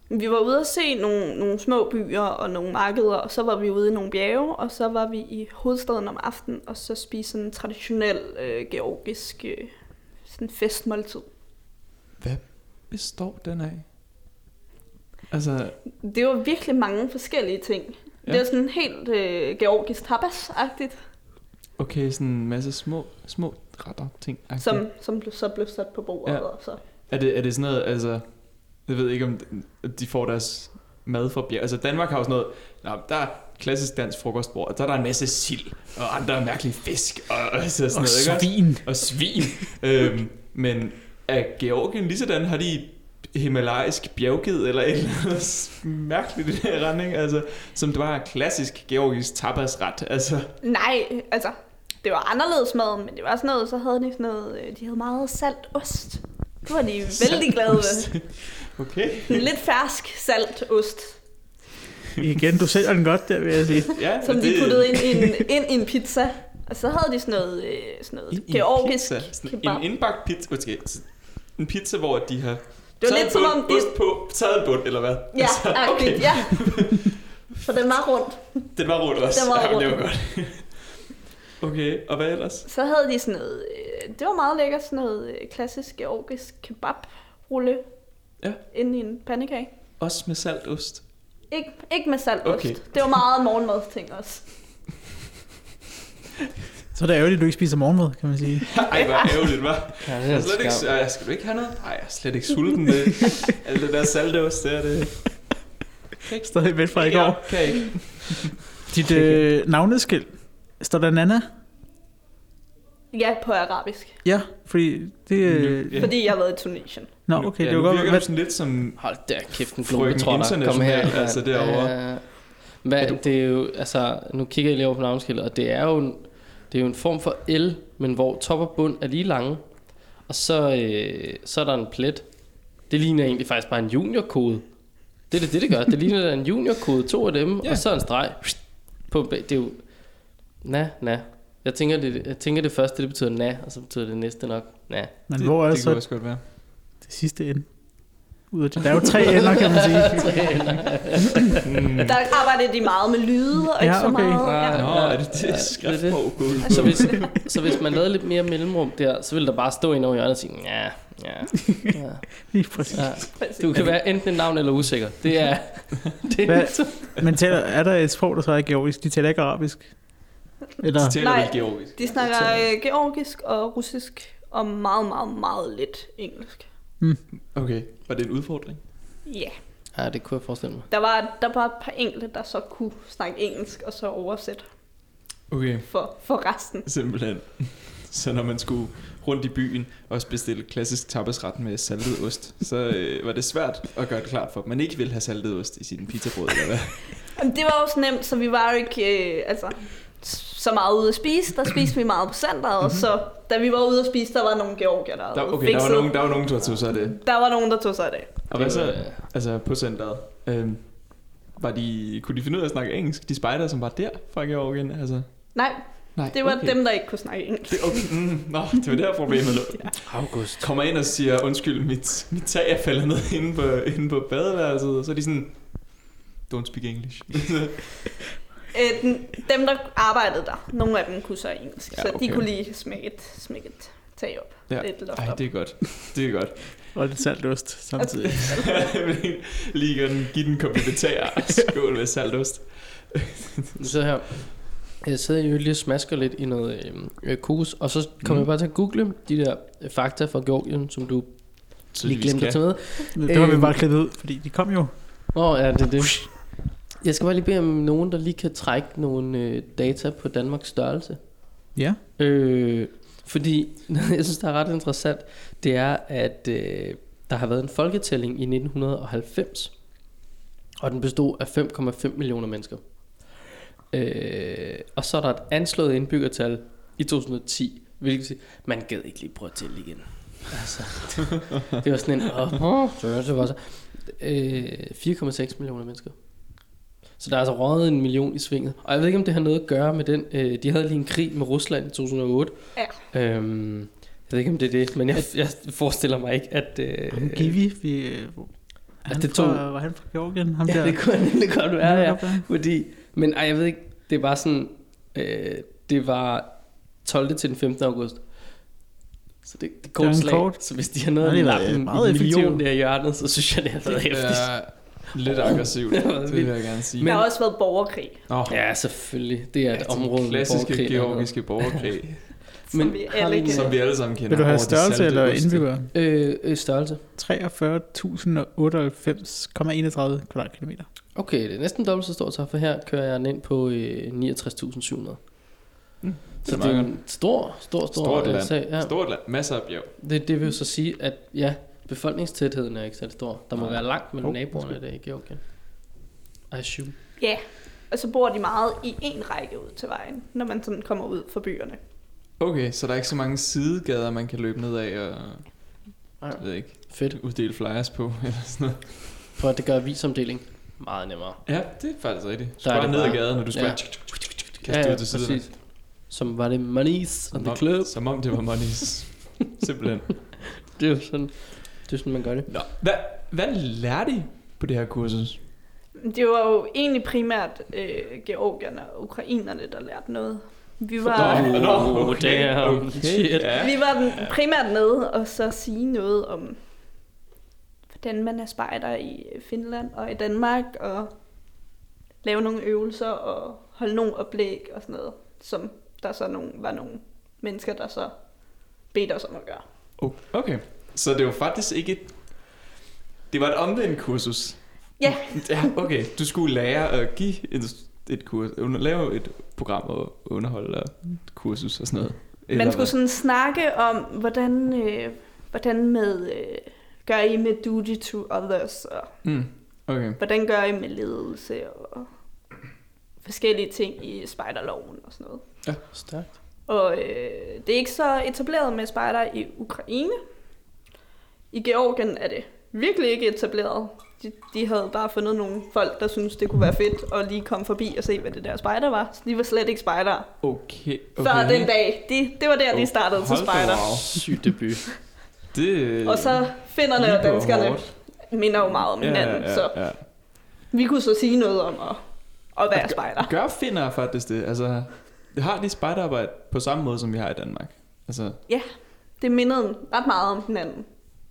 S4: Vi var ude at se nogle, nogle små byer og nogle markeder, og så var vi ude i nogle bjerge, og så var vi i hovedstaden om aftenen, og så spiste sådan en traditionel øh, georgisk øh, sådan festmåltid.
S1: Består den af? Altså,
S4: Det var virkelig mange forskellige ting. Ja. Det
S1: Ja.
S4: var sådan helt øh, georgisk tapas-agtigt,
S1: okay, sådan en masse små, små retter ting. Okay.
S4: som, som blev- så blev sat på bordet.
S1: Ja.
S4: Ja. Og så.
S1: Er det, er det sådan noget, altså... Jeg ved ikke, om de får deres mad fra bjerg. Altså, Danmark har jo sådan noget... Nå, der er klassisk dansk frokostbord, og der er der en masse sild, og andre mærkelige fisk, og, altså sådan
S3: og
S1: noget, ikke også? Og svin.
S3: svin.
S1: øhm, men er Georgien lige sådan, har de himalajsk bjergged eller et eller andet mærkeligt i den her retning, altså, som det var klassisk georgisk tapasret, altså.
S4: Nej, altså, det var anderledes mad, men det var sådan noget, så havde de sådan noget, øh, de havde meget salt ost. Det var de vældig glade ved.
S1: Okay.
S4: Sådan Lidt fersk salt ost,
S3: Igen, du sælger den godt der, vil jeg sige.
S1: Ja,
S4: som
S1: men
S4: de
S1: det-
S4: puttede ind, i en, ind i en pizza. Og så havde de sådan noget, øh, sådan noget
S1: Ind i en
S4: georgisk
S1: pizza. Sådan
S4: kebab.
S1: En indbagt pizza. Okay. En pizza, hvor de har
S4: Det var
S1: taget
S4: lidt som
S1: bund,
S4: om det...
S1: ost på, taget en bund, eller hvad? Altså,
S4: Ja,
S1: okay.
S4: agtigt, ja. For den var rundt.
S1: Den var rundt også.
S4: Den var
S1: ja, men Det
S4: rundt.
S1: var godt. Okay, og hvad ellers?
S4: Så havde de sådan noget, øh, det var meget lækkert, sådan noget øh, klassisk georgisk kebabrulle
S1: Ja.
S4: inde i en pandekage.
S1: Også med saltost.
S4: Ikke, ikke med salt
S1: Okay.
S4: ost. Det var meget morgenmadsting også.
S3: Så er det ærgerligt, at du ikke spiser morgenmad, kan man sige.
S1: Ej, hvor ærgerligt, hva'?
S2: Ja, det
S1: Jeg
S2: er
S1: er slet ikke,
S2: skam.
S1: jeg, skal du ikke have noget? Nej, jeg er slet ikke sulten. Det, alt det der saltost der, det...
S3: Stadig væk fra i går.
S1: Kan jeg ikke.
S3: Dit øh, navneskilt, står der Nana?
S4: Ja, på arabisk.
S3: Ja, fordi det... Øh,
S1: Ja.
S4: Fordi jeg har været i Tunesien.
S3: nå, okay,
S1: ja,
S3: det var
S1: nu
S3: godt.
S1: virker
S3: Hvad,
S1: du sådan lidt som...
S2: Hold da kæft, en
S1: Frøken
S2: globetrotter. Kom her.
S1: International, altså, derovre.
S2: Ja. Hvad,
S1: Er du-
S2: det er jo, altså, nu kigger jeg lige over på navnskiltet, og det er jo en, det er jo en form for L, men hvor top og bund er lige lange. Og så, øh, så er der en plet. Det ligner egentlig faktisk bare en juniorkode. Det er det, det, det gør. Det ligner da en juniorkode, to af dem,
S1: Ja.
S2: og så en streg. På, bag- det er jo... Na, na. Jeg tænker, det, jeg tænker det første, det betyder na, og så betyder det næste nok Ja.
S3: Men
S1: det,
S3: det, hvor er
S1: det
S3: så
S1: kunne også godt være.
S3: det sidste ende? Ud af det. Der er jo tre ender, kan man sige.
S1: Mm.
S4: Der arbejder de meget med lyde og ikke
S3: Ja,
S4: så
S3: okay.
S4: meget.
S2: Ah,
S4: Ja.
S1: Nå,
S2: Ja,
S1: er det
S2: ja,
S1: det, skrift
S2: det er
S1: på Gud?
S3: Altså,
S2: Så hvis, så hvis man lavede lidt mere mellemrum der, så ville der bare stå en over hjørnet og sige, ja, ja, ja,
S3: Lige præcis.
S2: ja.
S4: Præcis.
S2: Du kan være enten et navn eller usikker. Det er... Det er
S3: Hvad?
S2: ligesom,
S3: Men taler, er der et sprog, der så er georgisk? De taler ikke arabisk. Eller,
S1: Så taler
S4: Nej.
S1: vel georgisk.
S4: De snakker øh, georgisk og russisk og meget, meget, meget lidt engelsk.
S1: Okay, var det en udfordring?
S4: Ja, yeah.
S2: ja, det kunne jeg forestille mig.
S4: der, var, der var et par enkelte, der så kunne snakke engelsk og så oversætte
S1: Okay.
S4: for, for resten.
S1: Simpelthen. Så når man skulle rundt i byen og bestille klassisk tapasret med saltet ost, så øh, var det svært at gøre det klart for, at man ikke ville have saltet ost i sin pizzabrød, eller hvad?
S4: Jamen, det var også nemt, så vi var jo ikke øh, altså, så meget ude at spise. Der spiste vi meget på centret, og så da vi var ude at spise, der var nogle georgier, der,
S1: Mhm. Der,
S4: havde
S1: okay, der var,
S4: fikset-
S1: nogen, der var nogen, der tog sig af det.
S4: der var nogen, der tog sig af det.
S1: Og hvad så,
S2: Øh,
S1: altså på centret? Øhm, var de, kunne de finde ud af at snakke engelsk? De spejder, som var der fra Georgien, altså?
S4: Nej,
S1: Nej,
S4: det var
S1: okay.
S4: okay. dem, der ikke kunne snakke engelsk.
S1: Det, okay. mm, nå, det var der problemet lå.
S2: August.
S1: Kommer ind og siger, undskyld, mit, mit tag er faldet ned inde på, inde på badeværelset, og så er de sådan, don't speak English.
S4: Øh, den, dem, der arbejdede der, nogle af dem kunne så engelsk,
S1: Ja,
S4: ja, okay. så
S1: okay.
S4: de kunne lige smække et, smække et tag op.
S1: Ja.
S4: Ja. Et loft
S1: Ej,
S4: op.
S1: det er godt. Det er godt.
S3: og lidt salt ost samtidig.
S1: Jeg vil ikke lige gøre den, give den komplementær skål med saltost.
S2: Så her. Jeg sidder jo lige og smasker lidt i noget øh, øh, kokos, og så kommer
S1: Mm.
S2: mm. jeg bare til at google de der øh, fakta fra Georgien, som du lige
S1: Tydeligvis
S2: glemte at
S1: kan.
S2: tage med.
S3: Det var vi
S2: Øhm.
S3: bare klippet ud, fordi de kom jo.
S2: Nå, ja, det er det. Jeg skal bare lige bede om nogen, der lige kan trække nogle øh, data på Danmarks størrelse.
S3: Ja.
S2: Øh, fordi, jeg synes, det er ret interessant, det er, at øh, der har været en folketælling i 1990, og den bestod af 5,5 millioner mennesker. Øh, og så er der et anslået indbyggertal i 2010, hvilket siger, man gad ikke lige prøve at tælle igen. Altså, det, det var sådan en, åh, åh, det var så. Øh, 4,6 millioner mennesker. Så der er altså røget en million i svinget. Og jeg ved ikke, om det har noget at gøre med den... Øh, de havde lige en krig med Rusland i 2008.
S4: Ja.
S2: Øhm, jeg ved ikke, om det er det, men jeg, jeg forestiller mig ikke, at... Øh,
S3: Ham Givi, vi... øh, er Han
S2: det
S3: fra,
S2: tog-
S3: var han fra Georgien? Ham
S2: ja,
S3: der.
S2: det kunne nemlig godt være, ja.
S3: ja.
S2: Fordi, men ej, jeg ved ikke, det var sådan... Øh, det var 12. til den 15. august. Så det, det er
S3: Det er
S2: kort
S3: en
S2: slag.
S3: kort.
S2: Så hvis de har noget at
S3: Nej, det er
S2: lappe en
S3: meget effektivt.
S2: million der i hjørnet, så synes jeg, det har været
S1: Det
S2: hæftigt.
S1: er lidt aggressivt,
S2: Det var
S1: det vil
S2: vildt.
S1: jeg gerne sige.
S4: Men... Der
S2: Men-
S4: har også været borgerkrig,
S1: oh,
S2: Ja, selvfølgelig. Det er et område, med
S1: klassiske
S2: borgerkrig og-
S1: georgiske
S4: som
S1: borgerkrig,
S2: Men
S4: Men vi
S2: har
S4: alle
S2: vi-
S4: kender.
S1: som vi alle sammen kender.
S3: Vil du
S1: over
S3: have
S1: de
S3: størrelse
S1: salte
S3: eller
S1: oste.
S3: indbygger?
S2: Øh, øh, størrelse.
S3: 43.098,31 kvadratkilometer.
S2: Okay, det er næsten dobbelt så stort, så for her kører jeg den ind på øh, 69.700.
S1: Mm, er
S2: Så det er
S1: meget
S2: en stor, stor, stor
S1: Stort
S2: øh,
S1: land.
S2: sag. Ja.
S1: Stort land, masser af bjerg.
S2: Det, det vil jo så sige, at ja, befolkningstætheden er ikke særlig stor. Der må
S1: Nej.
S2: være langt mellem
S3: Hov,
S2: naboerne,
S3: undskyld.
S2: der i Georgien. I assume.
S4: Ja, og så bor de meget i en række ud til vejen, når man sådan kommer ud fra byerne.
S1: Okay, så der er ikke så mange sidegader, man kan løbe ned af og
S2: Nej.
S1: jeg ved ikke,
S2: Fedt.
S1: uddele flyers på eller sådan noget.
S2: For at det gør avisomdeling meget nemmere.
S1: Ja, det er faktisk rigtigt. Du
S2: Der
S1: skal
S2: er
S1: bare
S2: det
S1: ned ad
S2: bare-
S1: gaden, og du skal
S2: Ja.
S1: bare kaste ud til siden.
S2: Som var det Money's on
S1: Som
S2: the
S1: om,
S2: Club.
S1: som om det var Monies. Simpelthen.
S2: Det er jo sådan, det er sådan man gør det.
S1: Nå. Hvad, hvad lærte I på det her kursus?
S4: Det var jo egentlig primært øh, georgierne og ukrainerne, der lærte noget. Vi var,
S2: Nå,
S1: nå,
S2: damn, shit.
S1: Ja.
S4: vi var den primært med og så sige noget om, hvordan man er spejder i Finland og i Danmark, og lave nogle øvelser og holde nogle oplæg og sådan noget, som der så nogle, var nogle mennesker, der så bedte os om at gøre.
S1: O- Okay, så det var faktisk ikke et... Det var et omvendt kursus.
S4: Ja.
S1: ja. Okay, du skulle lære at give et, et kurs, under, lave et program og underholde og et kursus og sådan noget.
S4: Man
S1: Eller
S4: skulle sådan snakke om, hvordan, øh, hvordan med, øh, gør I med duty to others, og
S1: hvad? Mm. Okay.
S4: hvordan gør I med ledelse, og forskellige ting i spejderloven og sådan noget.
S2: Stærkt.
S4: Og øh, det er ikke så etableret med spejder i Ukraine. I Georgien er det virkelig ikke etableret. De, de havde bare fundet nogle folk, der synes det kunne være fedt at lige komme forbi og se, hvad det der spejder var. Så de var slet ikke spejdere.
S1: Okay. okay.
S4: Okay. Før den dag. De, det var der, de startede oh, til
S1: Hold da
S4: spejder.
S1: op.
S2: Sygt debut.
S1: Det,
S4: Og så
S1: lige
S4: finderne og
S1: på
S4: danskerne
S1: hårdt.
S4: minder jo meget om hinanden, ja, ja, ja. så
S1: ja.
S4: vi kunne så sige noget om at, at være
S1: At-
S4: spejder.
S1: Gør finder faktisk det? Altså, har de spejderarbejde på samme måde, som vi har i Danmark? Altså,
S4: Det mindede ret meget om hinanden.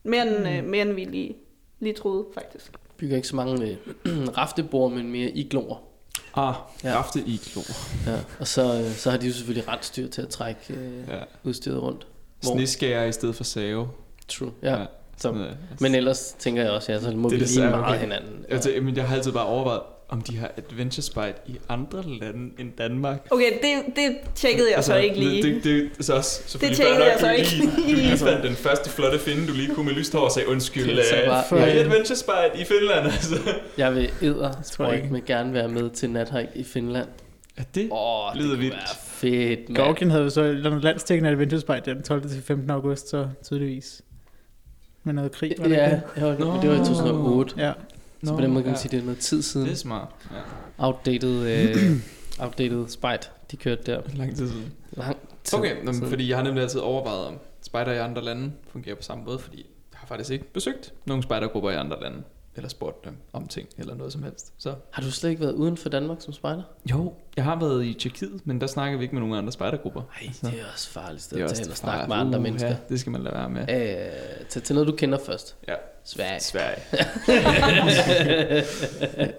S4: Mere end, mm. øh, mere end vi lige, lige troede, faktisk.
S2: Bygger ikke så mange øh, raftebord, men mere igloer.
S1: ah,
S2: Ja.
S1: ja. rafte i klo.
S2: Ja. Og så, øh, så har de jo selvfølgelig rensdyr til at trække øh, ja.
S1: Ja.
S2: udstyret rundt. Hvor-
S1: Sneskærer i stedet for save.
S2: True. Ja. ja.
S1: Ja.
S2: Så,
S1: Sådan noget. Altså,
S2: men ellers tænker jeg også, ja, så
S1: Det
S2: må det
S1: er
S2: vi
S1: det
S2: lige
S1: samme,
S2: meget
S1: okay.
S2: hinanden. Ja.
S1: jeg, tænker, men jeg har altid bare overvejet, om de har adventure spejt i andre lande end Danmark.
S4: Okay, det, det tjekkede jeg altså, så ikke lige.
S1: Det, det, det, så også, så fordi
S4: tjekkede
S1: fair nok,
S4: jeg så
S1: du
S4: ikke
S1: Lige, du
S4: lige.
S1: lige fandt den første flotte finde, du lige kunne med lyst hår og sagde, undskyld,
S2: Det er så
S1: øh,
S2: bare-
S1: har I
S3: Ja.
S1: adventure spejt i Finland? Altså.
S2: Jeg vil æder,
S3: tror
S2: tror
S3: jeg
S2: jeg,
S3: ikke.
S2: med gerne være med til nathike i Finland.
S1: Er det?
S2: Åh, oh, det
S1: Lyder
S2: kunne
S1: vildt.
S2: være fedt, mand.
S3: Georgien havde jo så et eller andet landstækkende Adventure Spike den 12. til 15. august, så tydeligvis. Med noget krig, var det
S2: Ja,
S3: ikke
S2: jeg var, men det var i
S1: Nå.
S2: 2008.
S3: det? Ja.
S2: Så på den måde kan man sige, det er noget tid siden.
S1: Det er smart. Ja.
S2: Outdated, øh, outdated spite, de kørte der
S1: Lang tid siden.
S2: lang tid.
S1: Okay, nå, men
S2: siden.
S1: fordi jeg har nemlig altid overvejet, om spejder i andre lande fungerer på samme måde, fordi jeg har faktisk ikke besøgt nogen spejdergrupper i andre lande, eller spurgt dem om ting, eller noget som helst. Så
S2: Har du slet ikke været uden for Danmark som spejder?
S1: jo, jeg har været i Tjekkiet, men der snakker vi ikke med nogen andre spejdergrupper.
S2: Nej,
S1: Altså,
S2: det er også farligt sted
S1: det er
S2: at
S1: også
S2: tage hen og
S1: et
S2: snakke
S1: farligt-
S2: med andre
S1: Uha,
S2: mennesker.
S1: Det skal man lade være med.
S2: Øh, tag til noget, du kender først.
S1: Ja.
S2: Sverige.
S1: Sverige.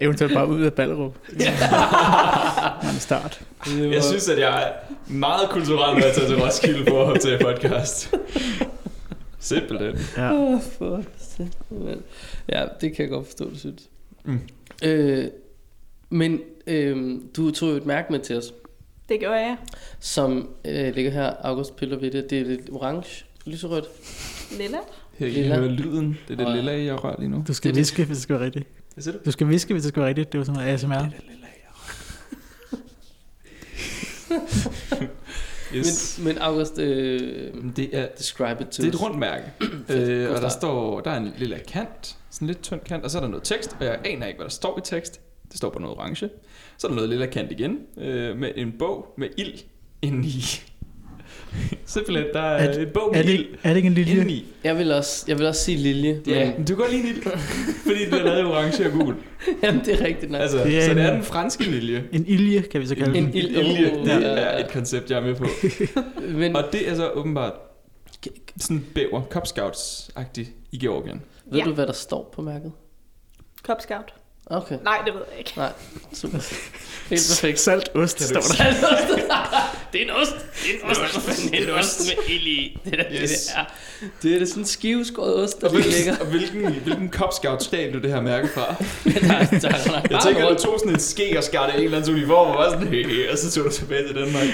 S3: Eventuelt bare ud af Ballerup. Ja. en start.
S1: Jeg synes, at jeg er meget kulturel, når jeg tager til Roskilde for at optage podcast. Simpelthen.
S3: Ja.
S2: Åh, for satan. Ja, det kan jeg godt forstå, du synes.
S1: Mm.
S2: Øh, men øh, du tog jo et mærke med til os,
S4: Det gjorde jeg.
S2: som øh, ligger her. August piller ved det. Det er lidt orange, lyserødt.
S4: Lilla.
S1: Her I
S2: Lilla.
S1: hører lyden. Det er
S2: Og-
S1: det lille, jeg rører lige nu.
S3: Du skal
S2: Det er
S3: viske, hvis det skal være rigtigt.
S1: Det ser du.
S3: Du skal viske, hvis det skal være rigtigt. Det var sådan noget ASMR.
S1: Yes.
S2: Men, men August, øh,
S1: Men, det er
S2: describe it to
S1: Det er
S2: us.
S1: et rundt mærke. øh, og der står, der er en lille kant, sådan en lidt tynd kant, og så er der noget tekst, og jeg aner ikke, hvad der står i tekst. Det står på noget orange. Så er der noget lille kant igen, øh, med en bog med ild indeni. Simpelthen, der er,
S3: Er-
S1: en bog med
S3: Er det,
S1: ild
S3: ikke- er det ikke en lille...
S1: indeni.
S2: Jeg vil også, jeg vil også sige lilje.
S1: Ja,
S2: Men,
S1: men du kan godt lide en ild, fordi den er lavet i orange og gul.
S2: jamen, det er rigtigt nok.
S1: Altså,
S3: Det er
S1: så det er
S3: en-
S1: den franske lilje.
S3: En ilje, kan vi så kalde
S1: En,
S3: den.
S1: en
S2: ild-
S1: ilje,
S2: oh,
S1: det
S2: ja, ja,
S1: er
S2: ja.
S1: et koncept, jeg er med på.
S2: Men
S1: Og det er så åbenbart sådan bæver, Cub Scouts-agtigt i Georgien.
S2: ved
S4: Ja.
S2: du, hvad der står på mærket?
S4: Cub Scout.
S2: Okay,
S4: Nej, det ved jeg ikke.
S2: super. Helt perfekt.
S3: Salt ost,
S1: Kan du
S3: står der.
S2: det er en ost. Det er en ost. For fanden, Det er en ost med ild i. Det er da det,
S1: Yes.
S2: det er. Det er da sådan en skiveskåret ost, der
S1: Og
S2: lige ligger.
S1: hvilken, og hvilken, hvilken Cub Scout stjal du det her mærke fra?
S2: der er, der er
S1: Jeg tænker, at du tog sådan en ske og skar det i en eller anden uniform, og var sådan, hey, og så tog du tilbage til Danmark.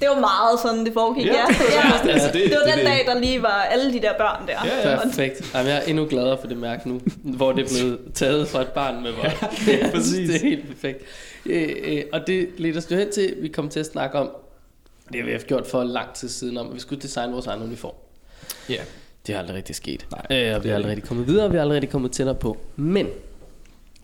S4: Det var meget sådan, det foregik.
S1: Ja.
S4: Ja. Ja. Ja.
S1: Altså, det-
S4: Det var
S1: det-
S4: den
S1: det-
S4: dag, der lige var alle de der børn der.
S1: Ja, ja.
S2: Perfekt. Jamen, jeg er endnu gladere for det mærke nu, hvor det er blevet taget fra et barn med vold. Ja,
S1: præcis.
S2: Det er helt perfekt. Øh, øh, og det leder os jo hen til, vi kom til at snakke om, det har vi haft gjort for lang tid siden om, at vi skulle designe vores egen uniform.
S1: Ja.
S2: Det er aldrig rigtig sket.
S1: Nej,
S2: øh, og
S1: det
S2: vi er
S1: er
S2: aldrig
S1: det.
S2: rigtig kommet videre, og vi er aldrig rigtig kommet tættere på. Men,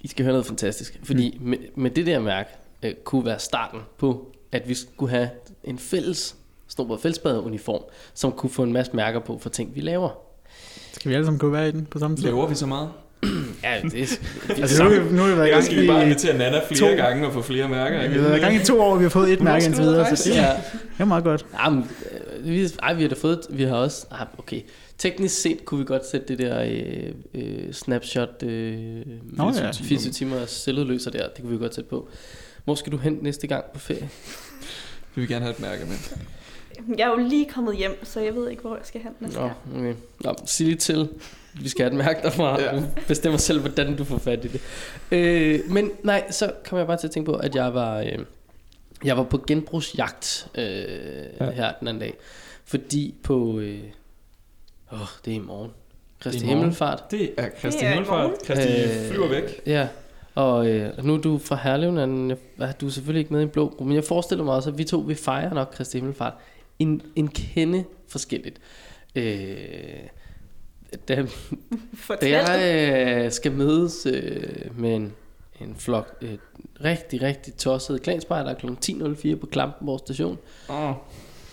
S2: I skal høre noget fantastisk. Fordi med, med det der mærke, øh, kunne være starten på, at vi skulle have en fælles Snobrød Fællesbad-uniform, som kunne få en masse mærker på for ting, vi laver.
S3: Skal vi alle sammen kunne være i den på samme tid?
S1: Laver vi så meget?
S2: Ja, det er,
S3: Altså, nu, har vi- nu har vi været
S1: Ellers
S3: i gang
S1: skal vi bare
S3: i...
S1: invitere Nana flere
S3: to.
S1: gange og få flere mærker.
S3: Vi
S1: ikke?
S3: har været i gang i to år, og vi har fået et
S1: Hvornår
S3: mærke
S1: skal
S3: indtil
S1: du ud at
S3: videre, så
S1: rejse?
S3: det
S2: ja.
S3: er meget godt.
S2: Jamen, øh, vi, ej, vi har da fået, vi har også, ah, okay, teknisk set kunne vi godt sætte det der øh, øh, snapshot øh,
S3: Nå ja.
S2: 24 timer selvudløser der, det kunne vi godt sætte på. Hvor skal du hen næste gang på ferie?
S1: Vi vil gerne have et mærke med.
S4: Jeg er jo lige kommet hjem, så jeg ved ikke, hvor jeg skal hen næste
S2: Nå,
S4: gang.
S2: okay. Nå, sig lige til. Vi skal have et mærke derfra.
S1: Ja.
S2: Ja. Bestemmer selv, hvordan du får fat i det. Øh, men nej, så kom jeg bare til at tænke på, at jeg var, øh, jeg var på genbrugsjagt øh, ja.
S1: Ja.
S2: her den anden dag. Fordi på... Øh, åh, det er i morgen. Kristi
S1: i morgen.
S2: Himmelfart.
S1: Det er Øh, Kristi
S4: Det er i
S1: Himmelfart.
S4: morgen.
S1: Kristi flyver væk.
S2: Øh, Ja, og øh, nu er du fra Herlev, Nan. Jeg- ah, du er selvfølgelig ikke med i en blå gruppe, men jeg forestiller mig også, at vi to vi fejrer nok Kristi Himmelfart en, en kende forskelligt. Øh, da, da
S4: Fortæl.
S2: jeg øh, skal mødes øh, med en, en flok øh, rigtig, rigtig tossede klanspejder kl. 10.04 på Klampenborg station.
S1: Oh.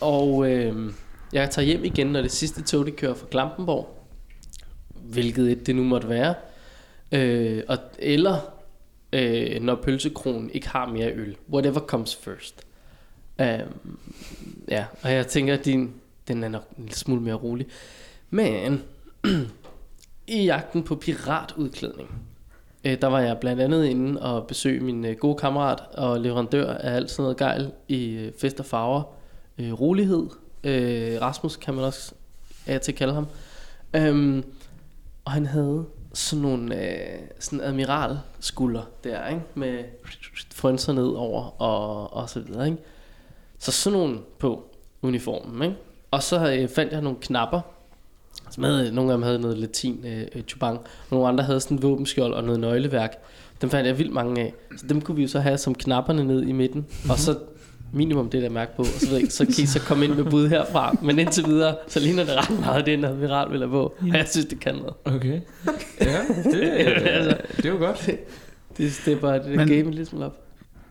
S2: Og øh, jeg tager hjem igen, når det sidste tog, det kører fra Klampenborg. Hvilket et det nu måtte være. Øh, og, eller øh, når pølsekronen ikke har mere øl. Whatever comes first. Øh, ja, og jeg tænker, at din, den er nok en lille smule mere rolig. Men i jagten på piratudklædning, øh, der var jeg blandt andet inde og besøge min øh, gode kammerat og leverandør af alt sådan noget gejl i øh, Fest og Farver, øh, rolighed. Øh, Rasmus kan man også af og til kalde ham. Øhm, og han havde sådan nogle øh, sådan admiral skulder der, ikke? Med frønser ned over og, og så videre, ikke? Så sådan nogle på uniformen, ikke? Og så øh, fandt jeg nogle knapper, som havde, øh, nogle af dem havde noget latin øh, øh, chubang, og nogle andre havde sådan en våbenskjold og noget nøgleværk. Dem fandt jeg vildt mange af. Så dem kunne vi jo så have som knapperne ned i midten, mm-hmm. og så minimum det der mærke på, og så, ved jeg, ikke, så kan I så komme ind med bud herfra. Men indtil videre, så ligner det ret meget det, en admiral vil have på. Og jeg synes, det kan noget. Altså,
S1: Okay. Ja, det, altså, det er jo godt.
S2: Det stepper det der
S3: Men-
S2: game lidt smule op.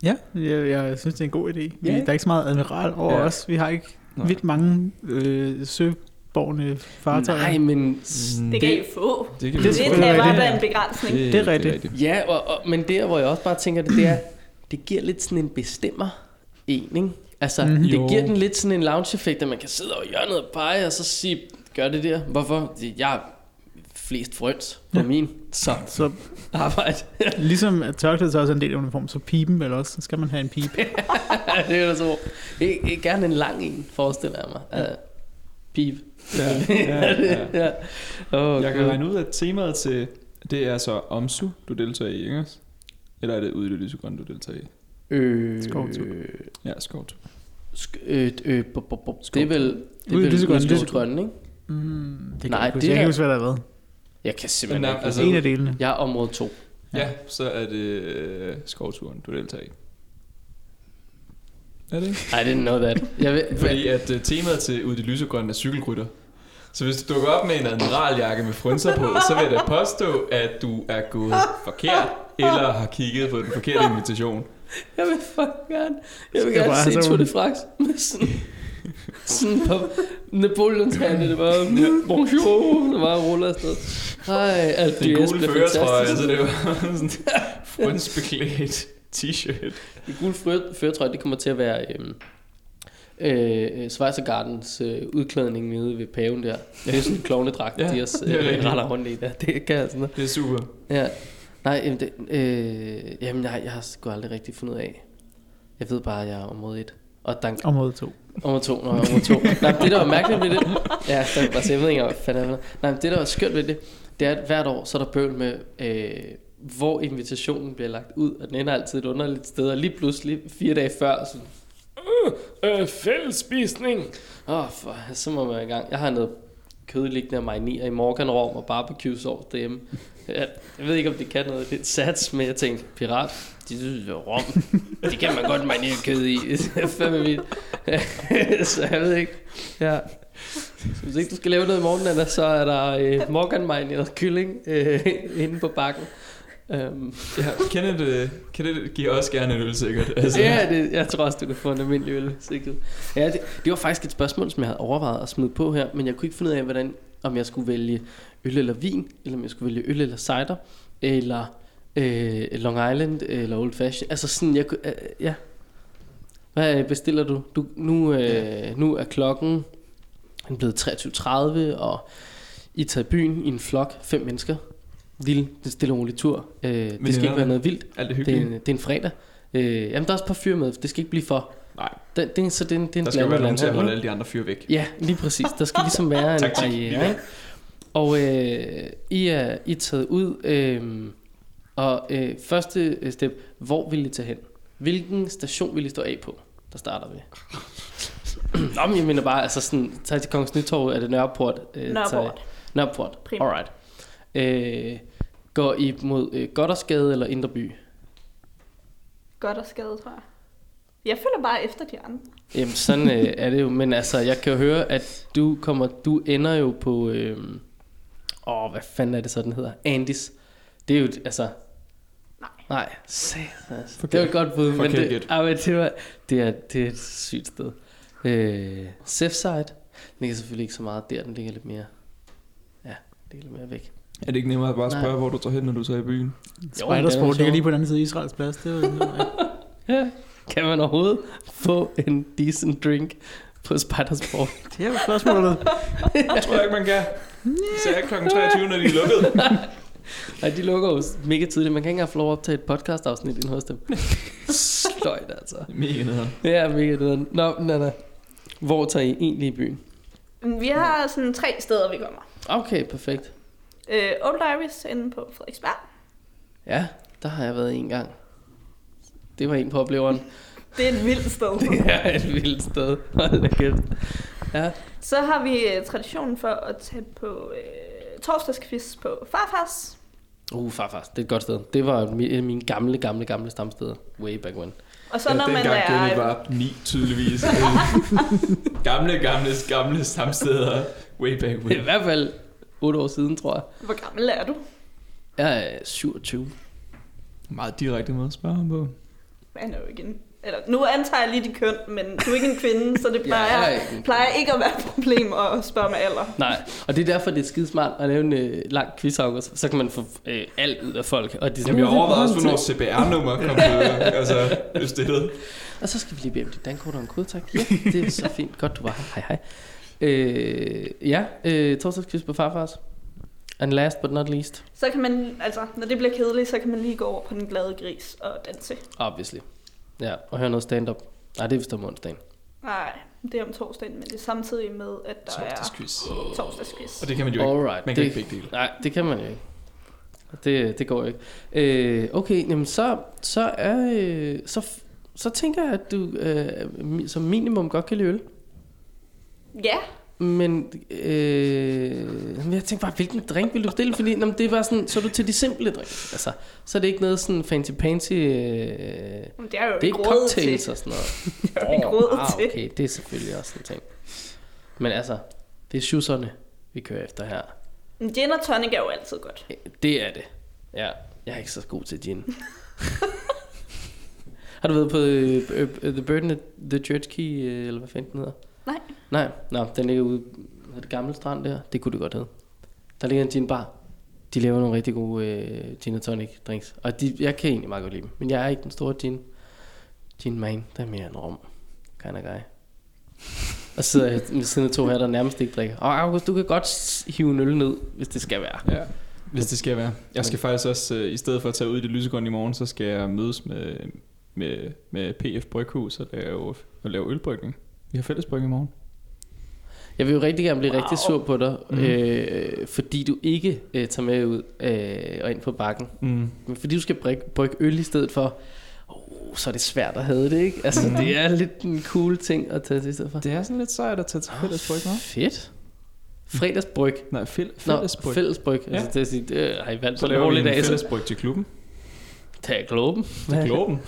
S3: Ja, jeg, jeg synes, det er en god idé. Vi,
S2: Ja,
S3: ja,
S2: ikke?
S3: der er ikke så meget admiral over
S1: Ja.
S3: ja. os. Vi har ikke
S1: Nej.
S3: Nej. vildt mange øh, søborgne fartøjer.
S2: Nej,
S3: Mm.
S2: men...
S4: Det kan I få.
S1: det kan
S4: Det,
S3: Det er
S4: kan
S3: rigtigt.
S4: bare være en begrænsning.
S3: Det er rigtigt.
S2: Ja, og, og, men der, hvor jeg også bare tænker det, det er, det giver lidt sådan en bestemmer en, ikke? Altså,
S3: Mhm.
S2: mm, det
S1: Jo.
S2: giver den lidt sådan en lounge-effekt, at man kan sidde over i hjørnet og pege, og så sige, gør det der. Hvorfor? Det- Jeg er flest frøns på
S3: Ja.
S2: min, så
S3: Så
S2: arbejde.
S3: ligesom at tørklædet så også er en del af uniformen, så pipen vel også, så skal man have en pipe.
S2: det er da så. Ikke, ikke gerne en lang en, forestiller jeg mig. Øh, Ja. Pip.
S1: Ja, ja, ja.
S2: ja. Oh,
S1: Jeg kan regne ud, at temaet til, det er så omsu, du deltager i, ikke? også? Eller er det ude i det lysegrønne, du deltager i?
S2: Øh,
S3: Skovtur.
S1: Ja, skovtur.
S2: sk- øh, øh, bo- bo- bo- det er vel... Det er
S3: Ude i
S2: vel ude i
S3: lysegrønne, lysegrønne.
S2: lysegrønne, ikke?
S3: Mm, det kan
S2: Nej,
S3: jeg ikke
S2: det
S3: huske. Jeg
S2: er-
S3: kan ikke huske, hvad der har været.
S2: Jeg kan
S1: Men
S2: simpelthen
S1: der-
S2: ikke.
S1: altså-
S2: Altså,
S3: En af delene.
S2: jeg er område 2.
S1: Ja, så er det øh, skovturen, du deltager i. Er det ikke?
S2: I didn't know that. Jeg ved,
S1: Fordi at øh, temaet til Ud i det lysegrønne er cykelrytter. Så hvis du dukker op med en admiraljakke med frynser på, så vil jeg da påstå, at du er gået forkert, eller har kigget på den forkerte invitation.
S2: jeg vil fucking gerne, jeg vil
S3: Skal
S2: gerne
S3: bare
S2: se
S3: have
S2: Tour
S3: sådan-
S2: de France med sådan, sådan på Napoleons hande, det var bonjour, det var ruller afsted. Ej, alt
S1: Den
S2: det
S1: gule
S2: blev
S1: førertrøje,
S2: fantastisk.
S1: altså det var sådan frynsbeklædt t-shirt.
S2: Det gule fører- førertrøje, det kommer til at være øhm, øh, Schweizergardens øh, udklædning nede ved paven der. Det er sådan en klovnedragt,
S1: Ja,
S2: de også
S1: det er
S2: øh,
S1: rigtigt.
S2: retter rundt i der. Det kan jeg sådan noget.
S1: Det er super.
S2: Ja. Nej, jamen, det, øh, jamen jeg, jeg har sgu aldrig rigtig fundet ud af. Jeg ved bare, at jeg er område 1. Og dank
S3: Område 2.
S2: Nummer to, nej, nummer to. nej, men det der var mærkeligt ved det, ja, der var bare jeg ved ikke, engang, hvad fanden er det. Nej, men det der var skørt ved det, det er, at hvert år, så er der bøvl med, øh, hvor invitationen bliver lagt ud, og den ender altid et underligt sted, og lige pludselig, fire dage før, så, øh, øh, fællesspisning. Åh, oh, for, så må man i gang. Jeg har noget kød liggende og marinere i morganrom og barbecue sovs derhjemme. Jeg, jeg ved ikke, om det kan noget. Det er sats, men jeg tænkte, pirat, de synes, det er rom. Det kan man godt marinere kød i. Fem vildt. så jeg ved ikke. Ja. Så Hvis ikke du skal lave noget i morgen, Anna, så er der øh, morganmarineret kylling øh, inde på bakken. Um,
S1: Ja, Kenneth, øh, Kenneth giver også gerne en øl, sikkert.
S2: altså, ja, det, jeg tror også, du kan få en almindelig øl. sikkert. Ja, det, det var faktisk et spørgsmål, som jeg havde overvejet at smide på her, men jeg kunne ikke finde ud af, hvordan, om jeg skulle vælge øl eller vin, eller om jeg skulle vælge øl eller cider, eller øh, Long Island, eller Old Fashion. Altså sådan, jeg kunne, øh, ja. Hvad bestiller du? du nu, øh, nu er klokken den er blevet 23.30, og I tager i byen i en flok, fem mennesker. Lille, det er stille og rolig tur. Øh, det skal
S1: vennerne?
S2: ikke være noget vildt.
S1: Alt er
S2: Det er,
S1: hyggeligt.
S2: en, det er en fredag. Øh, jamen, der er også parfume med. Det skal ikke blive for...
S1: Nej.
S2: Den, det, er- så det er en, det er en
S1: Der skal jo være
S2: blandet
S1: nogen til at holde
S2: landhandel,
S1: alle de andre fyre væk.
S2: ikke? Ja, lige præcis. Der skal ligesom være en
S1: Taktik, lige
S2: barriere.
S1: der.
S2: Ikke? Og øh, I, er, I er taget ud. Øh, og øh, første øh, step. Hvor vil I tage hen? Hvilken station vil I stå af på? Der starter vi. Nå, men jeg mener bare, altså sådan, tag til Kongens Nytorv, er det Nørreport? Øh,
S4: Nørreport.
S2: Nørreport.
S4: Primært.
S2: Alright. Øh, går I mod øh, Goddersgade eller Indreby?
S4: Godt og skade, tror jeg. Jeg føler bare efter de andre.
S2: Jamen sådan øh, er det jo, men altså jeg kan jo høre, at du kommer, du ender jo på øh, Åh, hvad fanden er det så, den hedder? Andis. Det er jo, et- altså...
S4: Nej.
S2: Nej, satans. Det var et godt bud, men
S1: Forkert
S2: det,
S1: gæt.
S2: ah, men det, var, det, er, det er et sygt sted. Øh, Sefside ligger selvfølgelig ikke så meget der, den ligger lidt mere... Ja, det ligger lidt mere væk.
S1: Er det ikke nemmere at bare
S2: Nej.
S1: spørge, hvor du tager hen, når du tager i byen?
S3: Spidersport
S2: sjov.
S3: ligger lige på den anden side af Israels plads. Det var,
S2: Ja. Kan man overhovedet få en decent drink på Spidersport?
S3: det er jo spørgsmålet.
S1: Jeg tror ikke, man kan. Så er klokken 23, når de er lukket.
S2: Nej, de lukker jo mega tidligt. Man kan ikke engang få lov at optage et podcast-afsnit inde hos dem. Sløjt altså.
S1: Mega nederen.
S2: Ja, mega nederen. Nå, Nana. Hvor tager I egentlig i byen?
S4: Vi har sådan tre steder, vi kommer.
S2: Okay, perfekt.
S4: Øh, Old Iris inde på Frederiksberg.
S2: Ja, der har jeg været en gang. Det var en på opleveren.
S4: Det er et vildt sted.
S2: Det er et vildt sted. Hold da kæft. Ja.
S4: Så har vi øh, traditionen for at tage på øh, torsdagsquiz på Farfars.
S2: Uh, farfar, det er et godt sted. Det var mi- et af mine gamle, gamle, gamle stamsteder. Way back when.
S4: Og så ja, når man
S1: dengang
S4: er...
S1: Kenny var 9, tydeligvis. gamle, gamle, gamle stamsteder. Way back
S2: I
S1: when.
S2: hvert fald 8 år siden, tror jeg.
S4: øh, Hvor gammel er du?
S2: Jeg er 27.
S1: Meget direkte måde at spørge ham på.
S4: Han er jo ikke en... Eller, nu antager jeg lige dit køn, men du er ikke en kvinde, så det
S2: Jeg er
S4: plejer,
S2: ikke en-
S4: plejer ikke at være et problem at spørge med alder.
S2: Nej, og det er derfor, det er skidesmart at lave en øh, lang quiz, August. Så kan man få øh, alt ud af folk. Og, de,
S1: Jamen, jeg overvejede også, hvornår CPR-nummer kom ud. Altså, hvis det hed.
S2: og så skal vi lige bede om dit dankort og en kode, tak. Ja, det er så fint. Godt, du var her. Hej, hej. Øh, ja, øh, torsdagsquiz på farfars. And last but not least,
S4: Så kan man, altså, når det bliver kedeligt, så kan man lige gå over på den glade gris og danse.
S2: obviously. Ja, og høre noget stand-up. Nej, det er vist om onsdagen.
S4: Nej, det er om torsdagen, men det er samtidig med, at der er
S1: Torsdagsquiz.
S4: torsdagsquiz.
S1: Og det kan man jo ikke.
S2: Alright.
S1: Man kan
S2: det,
S1: ikke begge dele.
S2: Nej, det kan man jo ikke. Det, det går jo ikke. Øh, okay, jamen så, så er... Øh, så, f- så tænker jeg, at du øh, mi- som minimum godt kan lide øl.
S4: Ja,
S2: Men øh, jamen, jeg tænkte bare, hvilken drink vil du bestille? Fordi jamen, det var sådan, så er du til de simple drinks. Altså, så er det ikke noget sådan fancy-pansy... Øh, det
S4: men det er jo
S2: er ikke
S4: ikke råd til.
S2: cocktails og sådan noget.
S4: Det er jo ikke
S2: Åh,
S4: råd
S2: ah,
S4: til.
S2: okay, det er selvfølgelig også en ting. Men altså, det er sjusserne, vi kører efter her.
S4: Men Gin og tonic er jo altid godt.
S2: Det er det. Ja, jeg er ikke så god til gin. har du været på øh, øh, øh, The Burden at the Church Key, øh, eller hvad fanden den hedder?
S4: Nej.
S2: Nej, nå, den ligger ude på det gamle strand der. Det kunne det godt hedde. Der ligger en gin bar. De laver nogle rigtig gode øh, gin og tonic drinks. Og de, jeg kan egentlig meget godt lide dem, men jeg er ikke den store gin. Gin man, der er mere en rom. Kind of guy. Og så sidder jeg ved siden af to her, der nærmest ikke drikker. Og August, du kan godt s- hive en øl ned, hvis det skal være.
S1: Ja, hvis det skal være. Jeg skal faktisk også, øh, i stedet for at tage ud i det lysegrønne i morgen, så skal jeg mødes med, med, med PF Bryghus og lave, og lave ølbrygning. Vi har fællesbryg i morgen.
S2: Jeg vil jo rigtig gerne blive wow.
S4: Wow.
S2: rigtig sur på dig, mm.
S1: Mhm.
S2: øh, fordi du ikke øh, tager med ud øh, og ind på bakken.
S1: Mm.
S2: Men fordi du skal brygge, brygge øl i stedet for, oh, så er det svært at have det, ikke? Altså, mm. det er lidt en cool ting at tage til i stedet for.
S1: Mhm. Det er sådan lidt sejt at tage til fællesbryg, hva'?
S2: Fedt. Fredagsbryg.
S1: Nej, fæl-
S2: Nå,
S1: fællesbryg.
S2: fællesbryg. Ja.
S1: Ja.
S2: Altså, det, vil sige, det har I valgt
S1: så
S2: på en
S1: laver vi
S2: dårlig
S1: en
S2: dag. Så
S1: fællesbryg til klubben.
S2: tag globen.
S1: Til klubben.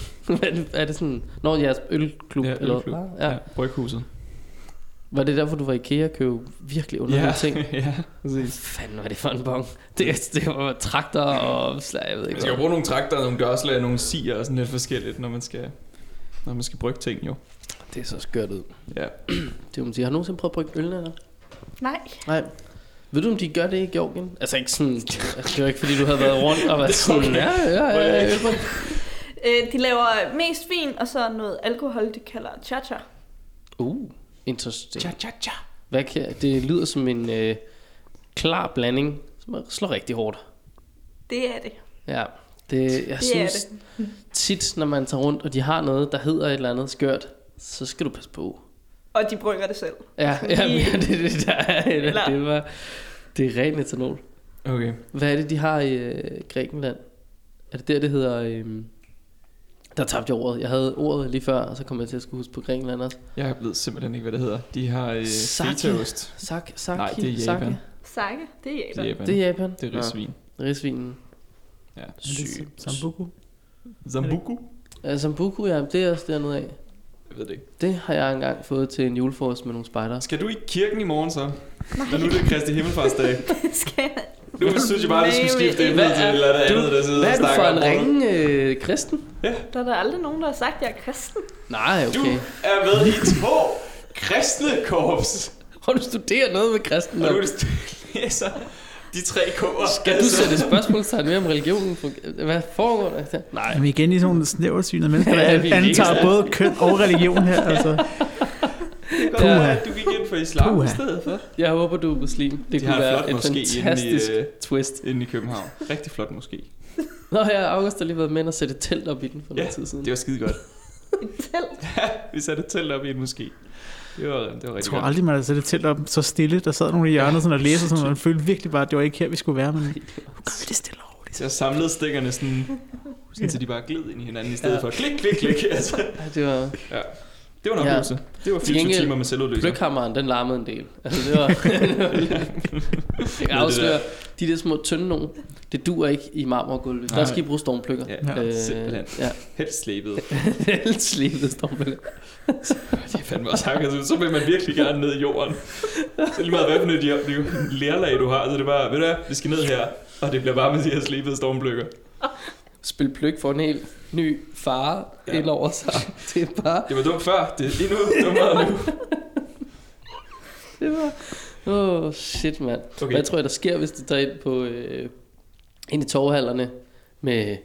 S2: er det sådan, når jeres ølklub?
S1: Ja,
S2: eller,
S1: ølklub.
S2: Ja.
S1: Ja, bryghuset.
S2: Var det derfor, du var i IKEA og købe virkelig underlige
S1: ja,
S2: ting?
S1: ja, præcis.
S2: fanden var det for en bong? Det, det var traktor og slag, Altså, jeg ved ikke
S1: Man skal jo
S2: hvad.
S1: bruge nogle trakter, nogle gørslag, nogle sier og sådan lidt forskelligt, når man skal, når man skal brygge ting, jo.
S2: Det er så skørt ud.
S1: Ja.
S2: Det må man sige. Har du nogensinde prøvet at brygge øl, eller?
S4: Nej.
S2: Nej. Ved du, om de gør det i Georgien? Altså ikke sådan... Altså, det var ikke, fordi du havde været rundt og været sådan... Ja, ja, ja, ja.
S4: Øh, de laver mest vin, og så noget alkohol, de kalder cha-cha.
S2: Uh, interesting.
S1: Tja, tja, tja.
S2: Hvad kan, det lyder som en øh, klar blanding, som er- slår rigtig hårdt.
S4: Det er det.
S2: Ja, det, jeg
S4: Det
S2: synes
S4: er det.
S2: tit, når man tager rundt, og de har noget, der hedder et eller andet skørt, så skal du passe på.
S4: Og de brygger det selv.
S2: Ja, ja, men ja, det er det, der er.
S4: Eller-
S2: Det, var, det er ren etanol.
S1: Okay.
S2: Hvad er det, de har i øh, Grækenland? Er det der, det hedder... Øh, der tabte jeg ordet. Jeg havde ordet lige før, og så kom jeg til at skulle huske på Grækenland også.
S1: Jeg ved simpelthen ikke, hvad det hedder. De har øh,
S2: Sake.
S1: fetaost.
S2: Sak, sak,
S1: Nej, det er Japan.
S2: Sake.
S4: Sakke, det er
S1: Det er
S4: Japan.
S1: Japan.
S2: Det er Japan.
S1: Det er risvin.
S2: Ja, risvinen.
S1: Ja.
S2: Syg.
S3: Sambuku.
S1: Zambuku?
S2: Ja, Sambuku, ja, det er også dernede af.
S1: Jeg ved det ikke.
S2: Det har jeg engang fået til en julefrokost med nogle spejdere.
S1: Skal du i kirken i morgen så? Nej. Når nu er det Kristi Himmelfartsdag.
S4: Det skal jeg
S1: Nu synes jeg bare, at vi skulle skifte emne
S2: Hvad
S1: til
S2: er-
S1: et eller det andet, der sidder
S2: Hvad
S1: og
S2: er du
S1: snakker
S2: for en
S1: om rotter.
S2: ringe øh, kristen?
S4: Der er der aldrig nogen, der har sagt, at jeg er kristen.
S2: Nej,
S1: Du
S2: okay.
S1: er med i to kristne korps.
S2: Har du studeret noget med kristen?
S1: Og nu er det læser de tre k'er. Altså,
S2: Skal du sætte spørgsmålstegn ved, om religionen fungerer? Hvad foregår der? her? Nej.
S3: Jamen igen, i sådan nogle snæversynede mennesker, der
S2: Ja, vi er
S3: antager
S2: ikke-
S3: både køn og religion her. Altså.
S1: Det
S2: Puha.
S1: kan godt være, at du gik ind for islam
S3: Puha.
S1: i stedet for.
S2: Jeg håber, du er muslim. Det
S1: De har
S2: kunne
S1: en
S2: være
S1: flot
S2: et
S1: moské inde i,
S2: fantastisk
S1: øh,
S2: twist.
S1: Inde i København. Rigtig flot måske.
S2: Nå, jeg og August har lige været med og sætte et telt op i den for
S1: Ja,
S2: noget tid siden.
S1: Det var skide godt.
S4: Et telt.
S1: Vi satte et telt op i en moské. Det var, det var
S3: Jeg
S1: rigtig
S3: tror
S1: godt.
S3: aldrig, man har sat et telt op så stille. Der sad nogen i hjørnet sådan, og læste, sådan, og man følte virkelig bare, at det var ikke her, vi skulle være. Men
S2: var det stille over.
S1: Så jeg samlede stikkerne sådan, sådan så de bare gled ind i hinanden i stedet
S2: Ja.
S1: for klik, klik, klik. Altså,
S2: Det var...
S1: det var en
S2: Ja.
S1: oplevelse. Det var 24
S2: gengæld-
S1: timer med selvudløser.
S2: Bløkhammeren, den larmede en del. Altså, det var... jeg kan afsløre, de der små tynde nogen, det duer ikke i marmorgulvet. Der
S1: Nej.
S2: skal I bruge stormpløkker. Øh,
S1: Ja,
S3: Ja.
S1: ja. simpelthen.
S2: ja.
S1: Helt slæbet.
S2: Helt slebet stormpløkker.
S1: Det er fandme også hakket ud. Så vil man virkelig gerne ned i jorden. Så lige meget hvad for noget de- de lærlag, du har. Så det er bare, ved du hvad, vi skal ned her. Og det bliver bare med de her slebede stormbløkker.
S2: Spil pløk for en helt ny fare ja.
S1: Ja.
S2: ind over sig. Det er bare...
S1: Det var dumt før. Det er endnu dummere nu.
S2: Det var... Åh, oh, shit, mand. Okay.
S1: Okay,
S2: Hvad tror jeg, der sker, hvis du tager ind på øh, ind i torvhallerne med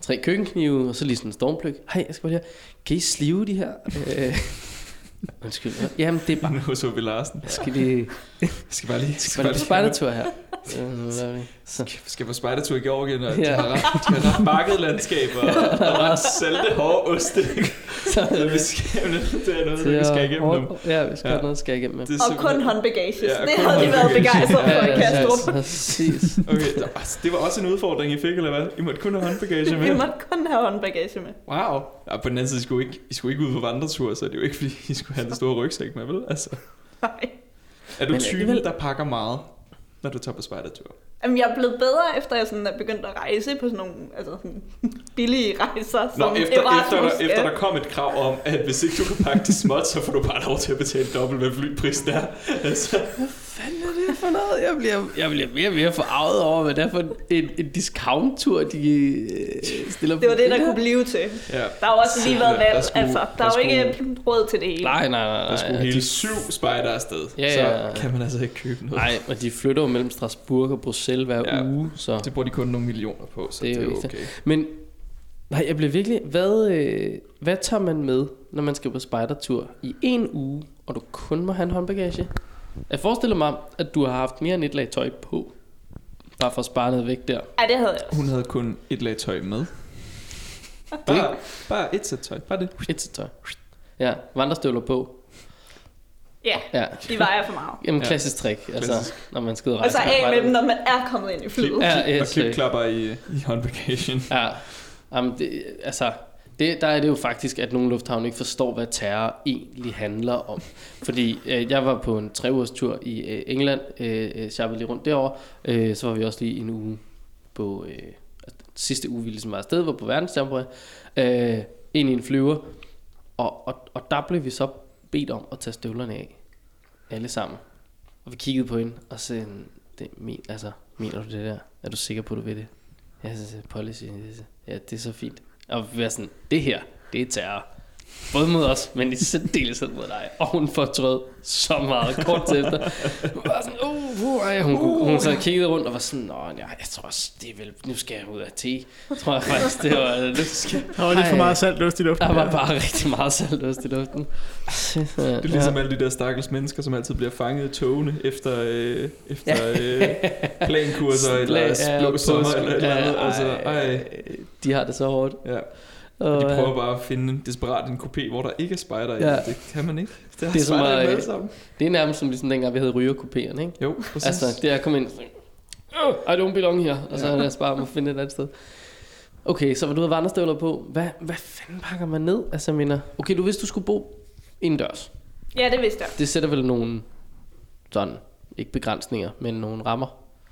S2: tre køkkenknive, og så lige sådan en stormpløk. Hej, jeg skal bare lige her. Kan I slive de her? Øh, undskyld. Jamen, det er bare...
S1: nu så vi Larsen.
S2: Jeg skal lige...
S1: Jeg skal bare lige...
S2: Jeg skal bare lige på spejdertur her. Øh, hvad er det? Så.
S1: Skal- skal på spejdertur i Georgien, og de
S2: Ja.
S1: har ret, de har ret market landskaber, og, og ret salte hårde oste.
S2: så
S1: Så vi skal, det er noget,
S2: til
S1: vi
S2: at-
S1: skal igennem dem.
S2: Ja, vi skal
S1: Ja.
S2: ja. noget, vi skal igennem.
S1: Det er
S4: Og kun
S1: simpelthen-
S4: håndbagages.
S1: Ja,
S4: Ja, det
S1: kun
S4: havde de været
S1: håndbagages.
S4: begejstret for i
S1: Ja,
S4: Kastrup.
S2: præcis.
S1: Okay, der- altså, det var også en udfordring, I fik, eller hvad? I måtte kun have håndbagage
S4: Vi
S1: med.
S4: måtte kun have håndbagage med.
S1: Wow. Ja, på den anden side, I skulle ikke, I skulle ikke ud på vandretur, så det er jo ikke, fordi I skulle have den store rygsæk med, vel? Altså,
S4: Nej.
S1: er du
S2: Men øh,
S1: typen,
S2: alligevel-
S1: der pakker meget, når du tager på spejdertur?
S4: Jamen, jeg er blevet bedre, efter jeg sådan er begyndt at rejse på sådan nogle altså sådan billige rejser.
S1: Nå,
S4: som
S1: efter, efter,
S4: Erasmus, ja.
S1: der, efter der kom et krav om, at hvis ikke du kan pakke det småt, så får du bare lov til at betale dobbelt, hvad flyprisen er. Altså,
S2: fanden er det for noget? Jeg bliver, jeg bliver mere og mere forarvet over, hvad det er for en, en, en discount-tur, de øh, stiller
S4: Det var det, der
S2: her.
S4: kunne blive til.
S1: ja.
S4: Der har jo også lige været
S1: Simpelthen,
S4: valg.
S1: der skulle-
S4: altså, der,
S1: der
S4: er jo
S1: skulle-
S4: ikke råd til det hele.
S2: Nej, nej, nej. nej.
S1: Der skulle
S2: ja,
S1: hele
S2: de,
S1: syv spejder afsted.
S2: Ja, ja, ja.
S1: Så kan man altså ikke købe noget.
S2: Nej, men de flytter jo mellem Strasbourg og Bruxelles hver
S1: Ja.
S2: ja. uge, så...
S1: Det bruger de kun nogle millioner på, så
S2: Det
S1: det
S2: er
S1: er,
S2: jo ikke
S1: okay.
S2: Men, nej, jeg bliver virkelig... Hvad, øh, hvad tager man med, når man skal på spejdertur i en uge, og du kun må have en håndbagage? Jeg forestiller mig, at du har haft mere end et lag tøj på, bare for at spare noget væk der.
S4: Ej, det havde jeg også.
S1: Hun havde kun et lag tøj med.
S2: er
S1: Bare, bare et sæt tøj. Bare det.
S2: Et sæt tøj. Ja, vandrestøvler på.
S4: Ja,
S2: Ja,
S4: de vejer for meget.
S2: Jamen
S1: Ja.
S2: klassisk trick, altså når man skal ud og
S4: Og så
S2: rejse.
S4: Altså, af med dem, når man er kommet ind i flyet.
S2: Ja,
S1: Klip- og
S2: yes,
S1: klipklapper i, i håndbagagen.
S2: Ja, jamen det, altså, det, der er det jo faktisk, at nogle lufthavne ikke forstår, hvad terror egentlig handler om. Fordi øh, jeg var på en tre ugers tur i øh, England, øh, øh, shoppede lige rundt derovre, øh, så var vi også lige en uge på, øh, altså, den sidste uge vi ligesom var afsted, var på verdensjamboree, øh, ind i en flyver, og, og, og der blev vi så bedt om at tage støvlerne af, alle sammen. Og vi kiggede på hende, og så, det, men, altså, mener du det der? Er du sikker på, du ved det? Ja, så, så policy, det, så- ja, det er så fint. Og vi var sådan, det her, det er terror. Både mod os, men i særdeleshed mod dig. Og hun fortrød så meget kort til efter. Hun var sådan, uh, uh, ej. hun, uh. hun så kiggede rundt og var sådan, Nå, nej, jeg tror også, det er vel, nu skal jeg ud af te. Tror jeg faktisk, det var, nu skal
S3: der var lidt for
S2: Ej.
S3: meget salt luft i luften.
S2: der var bare rigtig meget saltløst i luften.
S1: Det er ligesom alle de der stakkels mennesker, som altid bliver fanget i togene efter, øh, efter øh, plankurser eller blå sommer eller et eller andet. Altså, ej.
S2: De har det så hårdt.
S1: Ja.
S2: Og, øh,
S1: De prøver bare at finde en desperat en kopé, hvor der ikke er spejder i.
S2: Ja.
S1: Det kan man ikke. Der
S2: Det er så
S1: spejder i dem
S2: meget-
S1: alle sammen.
S2: Det er nærmest som ligesom dengang, vi havde rygerkupéerne, ikke?
S1: Jo, præcis.
S2: Altså, det er at komme ind og sådan, "Åh, I don't belong here, og så er det altså bare om at finde et andet sted. Okay, så var du ude og vandrestøvler på. Hvad, hvad fanden pakker man ned? Altså, jeg mener, okay, du vidste, du skulle bo indendørs.
S4: Ja, det vidste jeg.
S2: Det sætter vel nogle, sådan, ikke begrænsninger, men nogle rammer.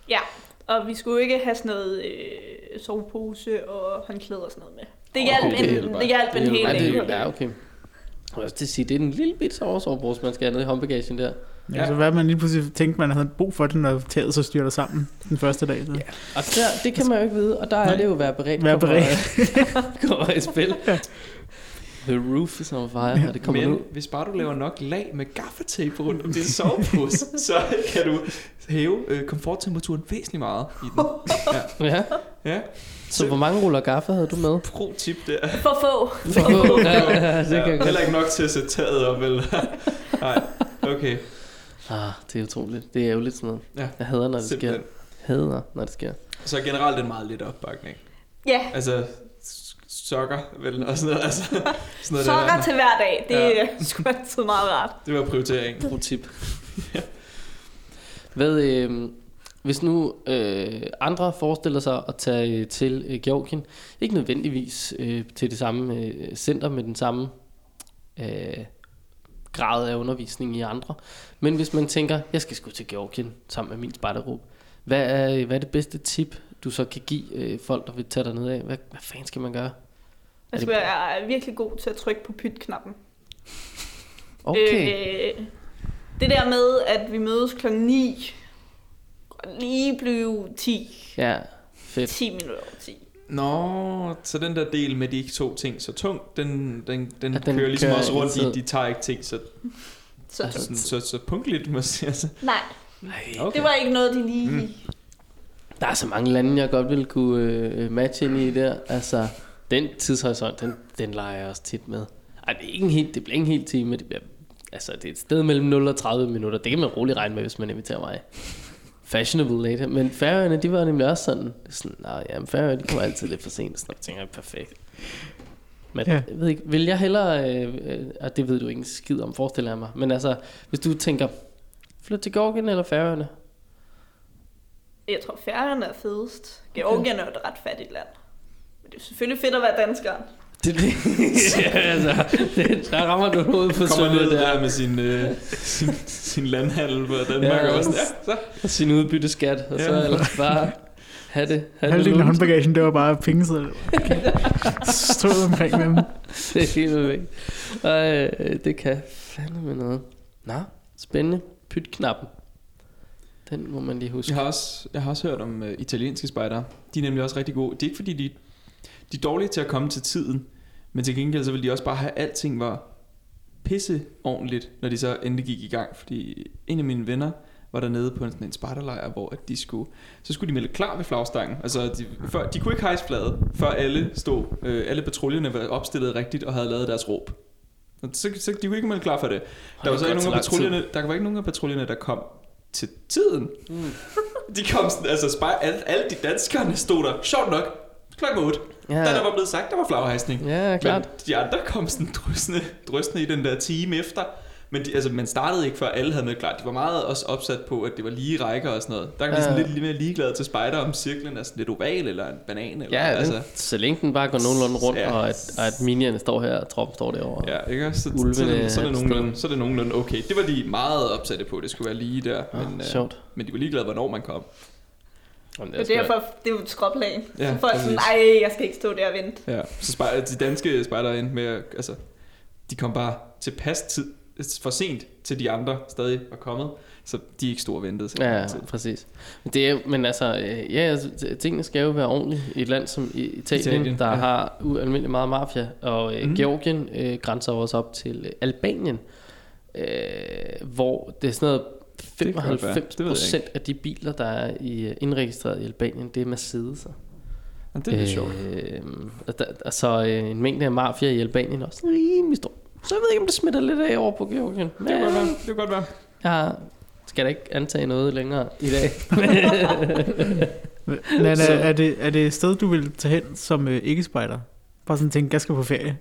S4: Ja, og vi skulle ikke have sådan noget øh, sovepose og håndklæde og sådan noget med. Det hjalp
S2: Okay, det
S4: en,
S1: hjælper.
S4: det hjalp en
S2: Det er jo-
S4: hel
S2: ja, det er jo-
S4: del.
S2: Ja, okay. Jeg vil også til at sige, det er en lille bit soversovbrus, man skal have ned i håndbagagen der.
S3: Ja.
S1: Ja.
S3: Altså, hvad man lige pludselig tænkte, man havde brug for det, når taget så styrter sammen den første dag. Så. Ja.
S2: Og der, det kan man jo ikke vide, og der er
S3: Nej.
S2: det jo at være beredt.
S3: Vær
S2: kommer- kommer i spil. The roof is on fire, og det kommer
S1: Men
S2: nu.
S1: hvis bare du laver nok lag med gaffatape rundt om din sovepose, så kan du hæve øh, komforttemperaturen væsentligt meget i den.
S2: Ja.
S1: Ja,
S2: Så hvor mange ruller gaffe havde du med?
S1: pro tip der.
S4: For få.
S2: For, ja, ja, det kan jeg
S1: ja,
S2: godt.
S1: heller ikke nok til at sætte taget op, eller? Nej, okay.
S2: Ah, det er utroligt. Det er ærgerligt sådan noget.
S1: Ja.
S2: Jeg hader, når det sker.
S1: Simpelthen.
S2: Hader, når det sker.
S1: Så generelt en meget lidt opbakning.
S4: Ja,
S1: Altså, s- sokker, vel, og sådan noget. Altså, sådan noget der.
S4: sokker til hver dag. Det
S1: Ja.
S4: ja. er sgu altid meget rart.
S1: Det var prioriteringen.
S2: Pro tip. Hvad, øh, hvis nu øh, andre forestiller sig at tage øh, til øh, Georgien, ikke nødvendigvis øh, til det samme øh, center med den samme øh, grad af undervisning i andre, men hvis man tænker, jeg skal sgu til Georgien sammen med min spejdergruppe, hvad er, øh, hvad er det bedste tip, du så kan give øh, folk, der vil tage dig af? Hvad, hvad fanden skal man gøre? Er
S4: Jeg
S2: det-
S4: skal være virkelig god til at trykke på pyt-knappen.
S2: Okay,
S4: Øh, det der med, at vi mødes klokken 9, og lige blive 10,
S2: ja, fedt.
S4: 10 minutter over 10.
S1: Nå, så den der del med de ikke to ting så tungt, den, den, den,
S2: Ja,
S1: ja,
S2: den
S1: den kører ligesom
S2: kører
S1: også rundt
S2: altid.
S1: i, de tager ikke ting så,
S4: Så,
S2: Altså,
S1: sådan, så, så punktligt, må jeg sige. Altså,
S4: nej, okay.
S1: okay.
S4: det var ikke noget, de lige... Mm.
S2: Der er så mange lande, jeg godt ville kunne øh, matche ind i der. Altså, den tidshorisont, den, den leger jeg også tit med. Ej, det, er ikke en helt, det bliver ikke en hel time. Det bliver, altså, det er et sted mellem 0 og 30 minutter. Det kan man roligt regne med, hvis man inviterer mig. Fashionable later. Men færøerne, de var nemlig også sådan. Det er sådan nej, jamen, færøerne, de kommer altid lidt for sent. Sådan, noget. jeg tænker, jeg, perfekt. Men
S3: Ja.
S2: ja. jeg ved ikke, vil jeg hellere, øh, øh, og det ved du ikke en skid om, forestiller jeg mig. Men altså, hvis du tænker, flyt til Georgien eller færøerne?
S4: Jeg tror, færgerne er fedest. Georgien er jo et ret fattigt land. Men det er jo selvfølgelig fedt at være dansker.
S2: Det, det, ja, altså, det, der rammer du hovedet på
S1: Kommer ned
S2: sømmet der.
S1: der med sin, øh, sin, sin landhandel på Danmark
S2: Ja. altså.
S1: ja, også. Ja, så.
S2: Og sin udbytteskat, og så
S1: Ja.
S2: ellers bare have det. Have det,
S3: Halvdelen af
S2: lunt.
S3: håndbagagen, det var bare pengesedler. Okay. Stod omkring med dem.
S2: det er helt væk. Ej, øh, det kan fandme noget. Nå, spændende. Pyt-knappen. Den må man lige huske.
S1: Jeg har også, jeg har også hørt om øh, italienske spejdere. De er nemlig også rigtig gode. Det er ikke fordi, de, de er dårlige til at komme til tiden, men til gengæld så ville de også bare have, at alting var pisse ordentligt, når de så endelig gik i gang. Fordi en af mine venner var dernede på en, sådan en spejderlejr, hvor at de skulle, så skulle de melde klar ved flagstangen. Altså, de, før, de kunne ikke hejse flaget, før alle stod, øh, alle patruljerne var opstillet rigtigt og havde lavet deres råb. Og Så, så de kunne ikke melde klar for det. Der var så ikke nogen af patruljerne, der var ikke nogen af patruljerne, der kom til tiden.
S2: Mm.
S1: De kom sådan, altså spej, alle, alle de danskerne stod der, sjovt nok, klokken 8. Ja.
S2: Ja,
S1: Da der var blevet sagt, der var flaghejsning.
S2: ja klart.
S1: Men de andre kom sådan drøsende, drøsende i den der time efter. Men de, altså, man startede ikke, før alle havde med klart. De var meget også opsat på, at det var lige rækker og sådan noget. Der er vi sådan
S2: Ja.
S1: lidt, lidt mere ligeglade til spejder, om cirklen er sådan lidt oval eller en banan. Eller,
S2: Ja, altså. så længe den bare går nogenlunde rundt,
S1: Ja.
S2: og at, og at minierne står her, og troppen står derovre.
S1: Ja, ikke? Så,
S2: Ulvene
S1: så, så, er det- så, er det
S2: er
S1: nogenlunde, så er det nogenlunde okay. Det var de meget opsatte på, det skulle være lige der.
S2: Ah,
S1: men, øh,
S2: sjovt.
S1: men de var ligeglade, hvornår man kom.
S2: Jamen,
S4: Det er,
S2: sgu-
S4: derfor, det er jo et skråplan.
S1: Ja,
S4: Ja, så folk er sådan,
S1: præcis.
S4: nej, jeg skal ikke stå der og vente.
S1: Ja, så spej- de danske spejdere endte med, at- altså, de kom bare tilpas tid, for sent til de andre stadig var kommet, så de er ikke store ventet.
S2: Ja, præcis. Men, det er, men altså, øh, ja, altså, t- tingene skal jo være ordentlige i et land som I- Italien, Italien
S1: Italien,
S2: der ja.
S1: ja.
S2: har ualmindelig meget mafia, og øh, mm.
S1: Mhm.
S2: Georgien øh, grænser jo også op til øh, Albanien, øh, hvor det er sådan noget
S1: Det kan godt være.
S2: 95
S1: Det ved jeg
S2: procent af de biler, der er i, øh, indregistreret i Albanien, det er Mercedes'er.
S1: Og det er lidt sjovt.
S2: Øh, og der, og så øh, en mængde af mafia i Albanien er også rimelig stor. Så jeg ved ikke, om det smitter lidt af over på Georgien.
S1: Det kan godt være. Det kan godt være.
S2: Ja, skal da ikke antage noget længere i dag.
S3: Nana,
S2: Så-
S3: er det, er det et sted, du vil tage hen som øh, ikke-spejder? Bare sådan tænke, jeg skal på ferie.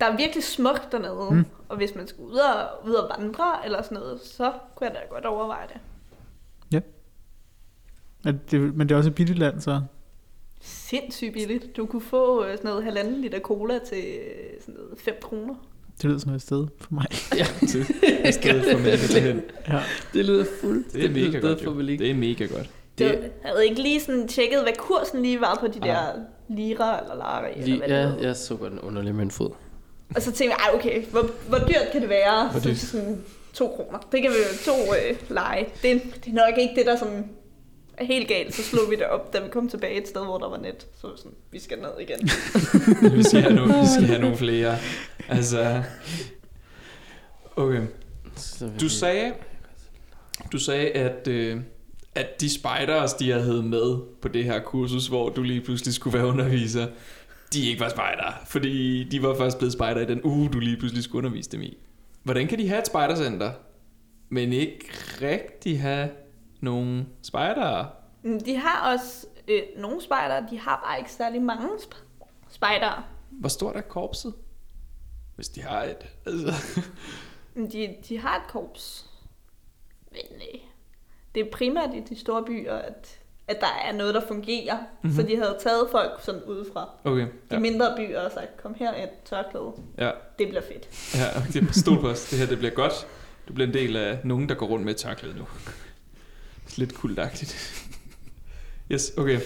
S4: Der er virkelig smukt dernede.
S3: Mm.
S4: Mm. Og hvis man skal ud og, ud og vandre eller sådan noget, så kunne jeg da godt overveje det.
S3: Er det, men det er også et billigt land, så.
S4: Sindssygt billigt. Du kunne få øh, sådan noget halvanden liter cola til øh, sådan noget 5 kroner.
S3: Det lyder som et sted for mig.
S1: I stedet for mælk til hen.
S3: Ja.
S2: det lyder fuldt.
S1: Det er mega godt,
S2: for
S1: jo. Det er mega godt.
S4: Det...
S1: Det,
S4: Jeg havde ikke lige sådan tjekket, hvad kursen lige var på de
S1: Nej.
S4: der lira eller lara. Eller
S2: Lige,
S4: hvad det
S2: ja,
S4: hed.
S2: jeg så godt en underlig med en fod.
S4: Og så tænkte jeg, "Ej, okay, hvor, hvor dyrt kan det være?
S1: Hvor
S4: så
S1: dyrt?
S4: sådan to kroner. Det kan vi jo to øh, lege. Det, er- det er nok ikke det, der sådan er helt galt. Så slog vi det op, da vi kom tilbage et sted, hvor der var net. Så var vi sådan, vi skal ned igen.
S1: vi, skal have nogle, vi skal have nogle flere. Altså... Okay. Du sagde, du sagde at, øh, at de spiders, de jeg havde med på det her kursus, hvor du lige pludselig skulle være underviser, de ikke var spejder, fordi de var først blevet spejder i den uge, du lige pludselig skulle undervise dem i. Hvordan kan de have et spejdercenter, men ikke rigtig have nogen spejdere?
S4: Men De har også øh, nogle spejdere. De har bare ikke særlig mange sp- spejdere.
S1: Hvor stort er korpset? Hvis de har et. Altså.
S4: Men De, de har et korps. Men øh, det er primært i de store byer, at, at der er noget, der fungerer. Mm-hmm. Så de havde taget folk sådan udefra.
S1: Okay,
S4: De
S1: ja,
S4: ja. mindre byer og sagt, kom her et tørklæde.
S1: ja,
S4: Det bliver fedt.
S1: ja okay, det er- stol på os. Det her det bliver godt. Du bliver en del af nogen, der går rundt med et tørklæde nu. Lidt kultagtigt. Yes, okay.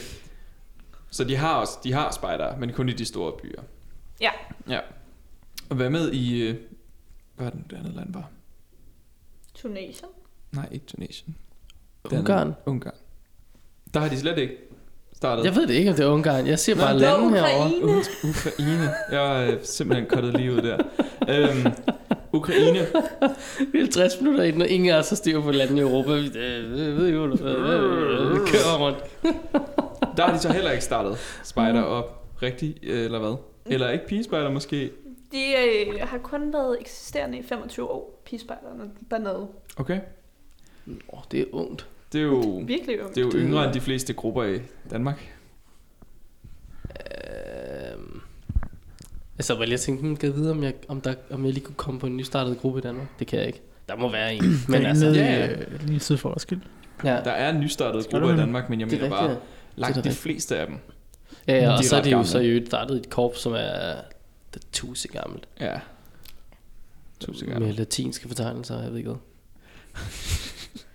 S1: Så de har også, de har spejdere, men kun i de store byer.
S4: Ja.
S1: Ja. Og hvad med i, øh, hvad er det, nu, det andet land var?
S4: Tunesien.
S1: Nej, ikke Tunesien. Det andet-
S2: Ungarn.
S1: Ungarn. Der har de slet ikke startet.
S2: Jeg ved det ikke, om det er Ungarn. Jeg ser
S1: Nå,
S2: bare
S1: det
S4: var
S2: lande herovre.
S4: Ukraine.
S1: Uk- Ukraine. Jeg er simpelthen kottet lige ud der. Øhm, Ukraine.
S2: Vi er 50 minutter inden, og ingen af os har styr på landene i Europa. Vi øh, jeg ved jo, øh, øh, kører rundt.
S1: Der har de så heller ikke startet spider
S2: Mm.
S1: op rigtigt, eller hvad? Eller ikke pigespejder måske?
S4: De øh, har kun været eksisterende i 25 år, pigespejlerne dernede.
S1: Okay.
S2: Nå, det er ungt.
S1: Det er jo,
S4: Virkelig jo.
S1: Uh. det er jo
S2: Det er-
S1: yngre end de fleste grupper i Danmark.
S2: Øh, altså, bare lige at tænke, hmm, kan jeg vide, om jeg, om, der, om jeg lige kunne komme på en nystartet gruppe i Danmark? Det kan jeg ikke. Der må være en. Men altså,
S3: nede,
S1: ja,
S3: ja,
S1: ja.
S3: ja. Øh, lige syd for Roskilde.
S2: ja,
S1: Der er nystartede
S3: Skal du
S1: grupper i
S3: have-
S1: Danmark, men jeg
S2: det er
S1: mener bare,
S2: rigtigt. Det er
S1: langt de
S2: rigtigt.
S1: fleste af dem.
S2: Ja,
S1: De
S2: ja,
S1: er
S2: og så er
S1: ret
S2: det jo
S1: gamle.
S2: så i øvrigt startet et korps, som er det er tusind gammelt.
S1: Ja. Tusind gange.
S2: Med latinske fortegnelser, jeg ved ikke hvad.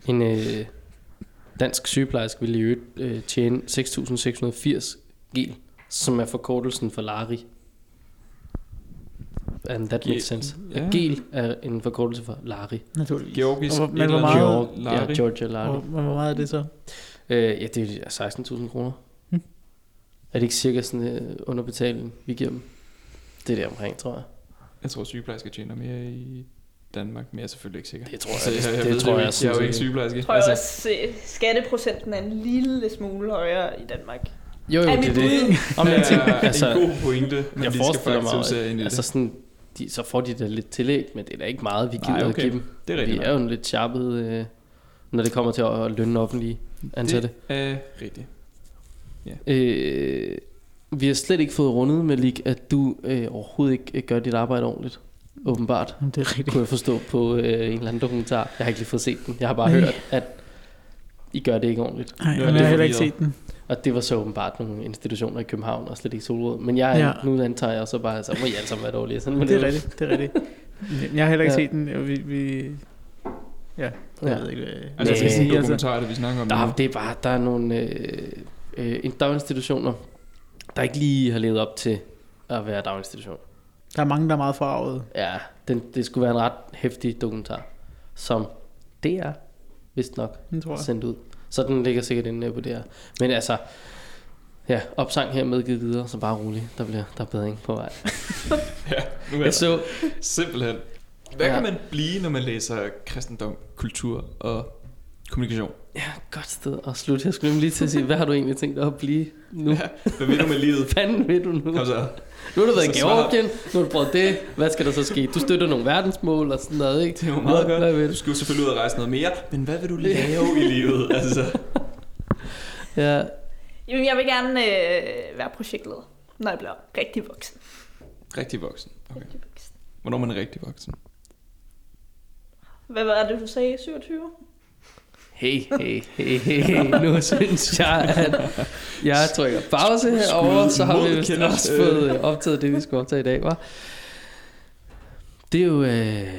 S2: En øh, dansk sygeplejerske ville i øvrigt øh, tjene 6.680 gel, som er forkortelsen for Lari. And that
S1: Ge-
S2: makes sense.
S1: ja.
S2: Ja. Gel er en forkortelse for Lari.
S3: Naturligvis.
S1: Georgisk.
S3: Og hvor- men
S1: et eller
S3: hvor
S1: andet.
S3: meget-
S2: Georg,
S1: Lari.
S2: ja, Georgia Lari.
S3: Hvor, hvor meget er det så?
S2: Øh, ja, det er 16.000 kroner.
S3: Hmm.
S2: Er det ikke cirka sådan øh, underbetaling, vi giver dem? Det er der omkring, tror jeg.
S1: Jeg tror, sygeplejersker tjener mere i Danmark, men jeg er selvfølgelig ikke sikker.
S2: Det tror jeg-
S1: Så
S2: det-
S1: jeg,
S2: det
S1: ved
S2: tror
S1: jo
S2: jeg
S1: ikke. Jeg
S2: sådan
S1: er jo
S2: set
S1: ikke
S2: ikke.
S1: sygeplejerske. Altså,
S4: Jeg tror jeg også, øh, skatteprocenten er en lille smule højere i Danmark.
S1: Øh,
S2: Jo, jo,
S4: Er
S2: det er
S4: mit
S2: det.
S4: bud.
S2: Om jeg tænker,
S1: altså,
S2: altså,
S1: en god pointe, men
S2: jeg
S1: vi skal
S2: forestiller mig,
S1: faktisk se ind i
S2: altså
S1: det.
S2: sådan, de, så får de da lidt tillæg, men det er da ikke meget, vi
S1: Nej,
S2: gider Nej,
S1: okay.
S2: okay. at give dem.
S1: Det er
S2: Vi
S1: rigtigt.
S2: er jo en lidt sharpet, øh, når det kommer til at lønne offentlige ansatte.
S1: Det er rigtigt.
S2: Det. Øh, vi har slet ikke fået rundet, Malik, at du øh, overhovedet ikke øh, gør dit arbejde ordentligt. Åbenbart,
S3: Jamen, Det er rigtigt.
S2: kunne jeg forstå på øh, en eller anden dokumentar. Jeg har ikke lige fået set den. Jeg har bare
S3: Nej.
S2: hørt, at I gør det ikke ordentligt.
S3: Nej,
S1: Ja,
S3: men
S1: det
S3: jeg
S1: er
S3: har heller ikke
S1: forvirret.
S3: set den.
S2: Og det var så åbenbart nogle institutioner i København, og slet ikke Solrød. Men jeg, ja.
S3: Ja.
S2: nu antager jeg så bare, at så må I alle sammen være dårlige. Sådan, må
S3: Det er
S2: jo.
S3: rigtigt, det er rigtigt. Men Jeg har heller ikke
S2: Ja.
S3: set den. og Vi, vi, ja, jeg
S2: Ja.
S3: ved ikke, hvad
S1: Altså,
S3: jeg
S1: det er
S3: skal
S1: sådan en
S3: sige. Altså,
S1: dokumentar, det vi snakker om.
S2: Der,
S1: nu.
S2: er- det er bare, der er nogle øh, øh, en- daginstitutioner, der ikke lige har levet op til at være daginstitution.
S3: der er mange, der er meget forarvet.
S2: Ja, den, det skulle være en ret hæftig dokumentar, som DR, vist nok,
S3: Den tror jeg.
S2: sendt ud. Så den ligger sikkert inde på DR. Men altså, ja, opsang her medgivet videre, så bare rolig, der, bliver, der er bedring på vej.
S1: Ja, nu er
S2: Jeg
S1: det.
S2: så,
S1: Simpelthen. Hvad
S2: Ja.
S1: kan man blive, når man læser kristendom, kultur og kommunikation?
S2: ja, godt sted at slutte. Jeg skulle nemlig lige til at sige, hvad har du egentlig tænkt dig at blive nu?
S1: Ja, Hvad vil du med livet?
S2: Hvad fanden vil du nu?
S1: Kom så.
S2: Nu har du været
S1: Så
S2: i
S1: svar.
S2: Georgien, nu har du prøvet det, hvad skal der så ske? Du støtter nogle verdensmål og sådan noget, ikke?
S1: Det er jo meget
S2: Hvad- hvad
S1: godt.
S2: vil
S1: Du
S2: du?
S1: skal jo selvfølgelig ud og rejse noget mere, men hvad vil du lave i livet? Altså,
S2: Ja,
S4: Jamen, jeg vil gerne øh, være projektleder, når jeg bliver rigtig voksen.
S1: rigtig voksen. Okay.
S4: Rigtig voksen.
S1: Hvornår er man rigtig voksen?
S4: Hvad var det, du sagde? 27?
S2: hey, hey, hey, hey, hey, nu synes jeg, at jeg trykker pause herovre, så har vi vist
S1: Modkender.
S2: også fået øh, optaget det, vi skulle optage i dag, var. Det er jo øh,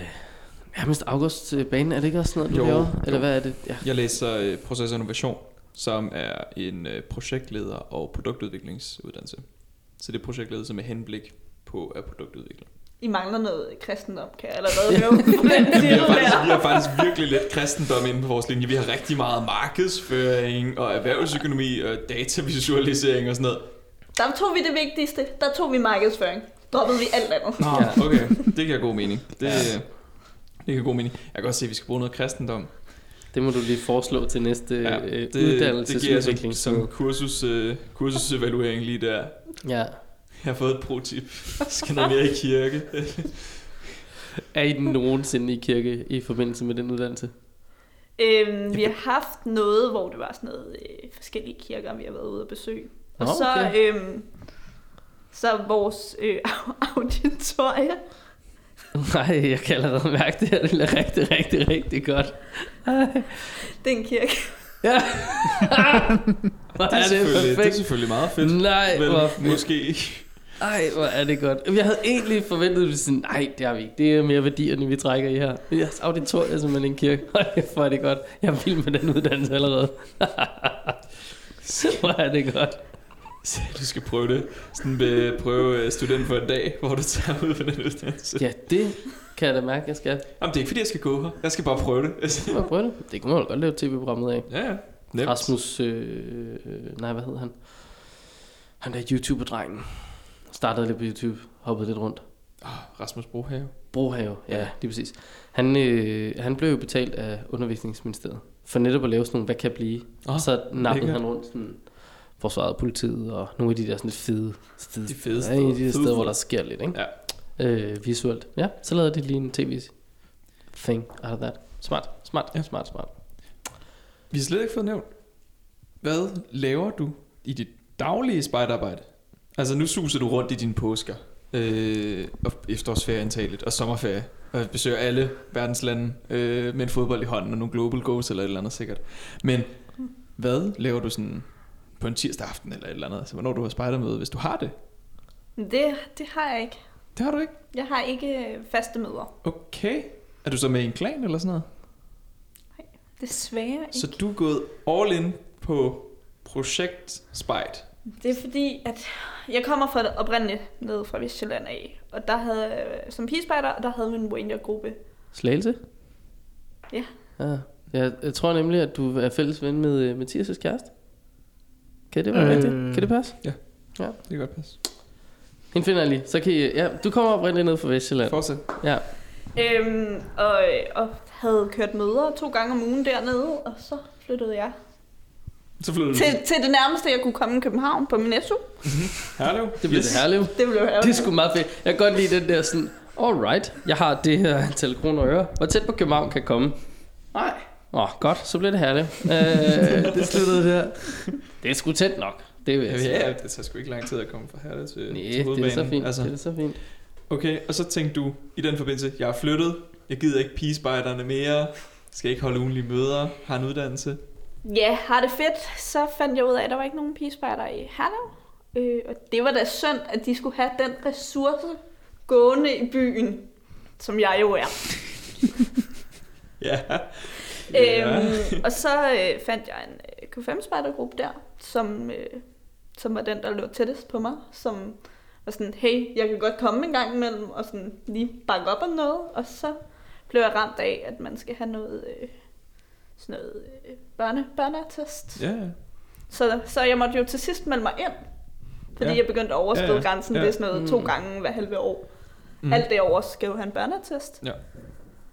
S2: nærmest augustbanen, er det ikke også sådan noget, du
S1: Jo,
S2: laver? Eller
S1: jo.
S2: hvad er det? Ja.
S1: Jeg læser øh, proces og innovation, som er en øh, projektleder og produktudviklingsuddannelse. Så det er projektledelse med henblik på at produktudvikle.
S4: I mangler noget kristendom, kan jeg allerede nå. den
S1: Vi har,
S4: titel
S1: faktisk, vi
S4: der.
S1: har faktisk virkelig lidt kristendom inde på vores linje. Vi har rigtig meget markedsføring og erhvervsøkonomi og datavisualisering og sådan noget.
S4: Der tog vi det vigtigste. Der tog vi markedsføring. Droppede vi alt andet.
S1: Nå, okay. Det giver god mening. Det, ja. det giver god mening. Jeg kan godt se, at vi skal bruge noget kristendom.
S2: Det må du lige foreslå til næste øh, ja,
S1: det, det
S2: det,
S1: giver jeg som,
S2: uddannelsesudvikling.
S1: som kursus, øh, kursusevaluering lige der.
S2: Ja.
S1: Jeg har fået et pro-tip. Skal noget mere i kirke.
S2: Er I nogensinde i kirke i forbindelse med den uddannelse?
S4: Øhm, vi har haft noget, hvor det var sådan noget øh, forskellige kirker, vi har været ude at besøge. Og
S2: Nå,
S4: så,
S2: okay.
S4: øhm, så vores øh, au- auditorie.
S2: Nej, jeg kan allerede mærke det her. Det er rigtig, rigtig, rigtig godt. Ej.
S4: Den kirke.
S2: Ja. hvor
S1: Det er,
S2: er det
S1: selvfølgelig, det er
S2: perfekt.
S1: selvfølgelig meget fedt.
S2: Nej,
S1: Vel,
S2: hvor fedt.
S1: måske ikke.
S2: Ej, hvor er det godt. Jeg havde egentlig forventet, at vi sådan, nej, det har vi ikke. Det er mere værdierne, vi trækker i her. Men jeres auditorium er simpelthen en kirke. Ej, hvor er det godt. Jeg er vild med den uddannelse allerede. hvor er det godt.
S1: Så du skal prøve det. Sådan øh, prøve øh, student for en dag, hvor du tager ud på den uddannelse.
S2: Ja, det kan jeg da mærke, jeg skal.
S1: Jamen, det er ikke fordi, jeg skal gå her. Jeg skal bare prøve det. Altså,
S2: Prøv at prøve det. Det kunne man jo godt lave tv-programmet af.
S1: ja, ja.
S2: Nemt.
S1: Nemt.
S2: Rasmus, øh, øh, nej, hvad hed han? Han der YouTuber-drengen. Startede lidt på YouTube, hoppede lidt rundt.
S1: Ah, Rasmus Brohave.
S2: Brohave, ja, lige præcis. Han, øh, han blev jo betalt af undervisningsministeriet for netop at lave sådan nogle, hvad kan blive.
S1: Åh,
S2: Og så nappede
S1: lækkert.
S2: han rundt sådan forsvaret politiet og nogle af de der sådan lidt fede steder.
S1: De fede
S2: Ja, en af de
S1: steder. Fede
S2: der steder, hvor
S1: steder.
S2: der sker lidt, ikke? Ja. Øh, visuelt. Ja, så lavede de lige en tv-thing out of that. Smart, smart,
S1: Ja.
S2: ja. smart, smart.
S1: Vi har slet ikke fået nævnt. Hvad laver du i dit daglige spejderarbejde? Altså, nu suser du rundt i dine påsker. Øh, og efterårsferie antageligt, og sommerferie. Og besøger alle verdens lande øh, med en fodbold i hånden og nogle global goals eller et eller andet sikkert. Men hvad laver du sådan på en tirsdag aften eller et eller andet? Altså, hvornår du har spejdermøde, hvis du har det?
S4: Men Det, det har jeg ikke.
S1: Det har du ikke.
S4: Jeg har ikke øh, faste møder.
S1: Okay. Er du så med i en klan eller sådan noget?
S4: Desværre ikke.
S1: Så du er gået all in på projekt Spejt.
S4: Det er fordi, at jeg kommer fra det oprindeligt ned fra Vestjylland af. Og der havde, øh, som pigespejder, og der havde vi en ranger-gruppe.
S2: Slagelse?
S4: Ja.
S2: ja. Jeg, jeg tror nemlig, at du er fælles ven med øh, Mathias' kæreste. Kan det være
S3: Øh.
S2: øh... rigtigt? Kan det passe?
S1: Det kan godt passe.
S2: Hende finder jeg lige. Så kan I, ja, du kommer oprindeligt ned fra Vestjylland.
S1: Fortsæt.
S2: Ja.
S4: Øhm, og, og havde kørt møder to gange om ugen dernede, og så flyttede jeg
S1: Så flytter du.
S4: til, til det nærmeste, jeg kunne komme i København på min SU.
S1: Herlev.
S2: Det bliver yes. det herlige.
S4: Det blev jeg
S2: Det er sgu meget fedt. Jeg kan godt lide den der sådan, alright, jeg har det her antal kroner og øre. Hvor tæt på København kan jeg komme? Nej. Åh, oh, godt, så bliver det herligt. Øh, det sluttede der. Det er sgu tæt nok. Det vil jeg sige.
S1: Ja, ja, det tager sgu ikke lang tid at komme fra Herlev til, til
S2: altså. Næh, det er
S1: hovedbanen.
S2: så fint. Altså. Det er
S1: Altså,
S2: så fint.
S1: okay, og så tænkte du, i den forbindelse, jeg er flyttet, jeg gider ikke pigespejderne mere, skal ikke holde ugenlige møder, har en uddannelse.
S4: Ja, har det fedt. Så fandt jeg ud af, at der var ikke nogen pigespejder i Herlev. Øh, og det var da synd, at de skulle have den ressource gående i byen, som jeg jo er.
S1: Ja.
S4: Øhm, og så øh, fandt jeg en øh, Q5-spejdergruppe der, som, øh, som var den, der lå tættest på mig, som var sådan, hey, jeg kan godt komme en gang imellem, og sådan lige bakke op om noget, og så blev jeg ramt af, at man skal have noget, øh, sådan noget øh, børne, børneattest.
S1: Ja, ja.
S4: Så, så jeg måtte jo til sidst melde mig ind, fordi
S1: Ja.
S4: ja. jeg begyndte at overskride
S1: Ja,
S4: ja,
S1: ja.
S4: ja. grænsen
S1: Ja.
S4: ved sådan noget to
S2: Mm.
S4: gange hver halve år.
S1: Mm.
S4: Mm. Alt derover skal jo have en børneattest.
S1: Ja.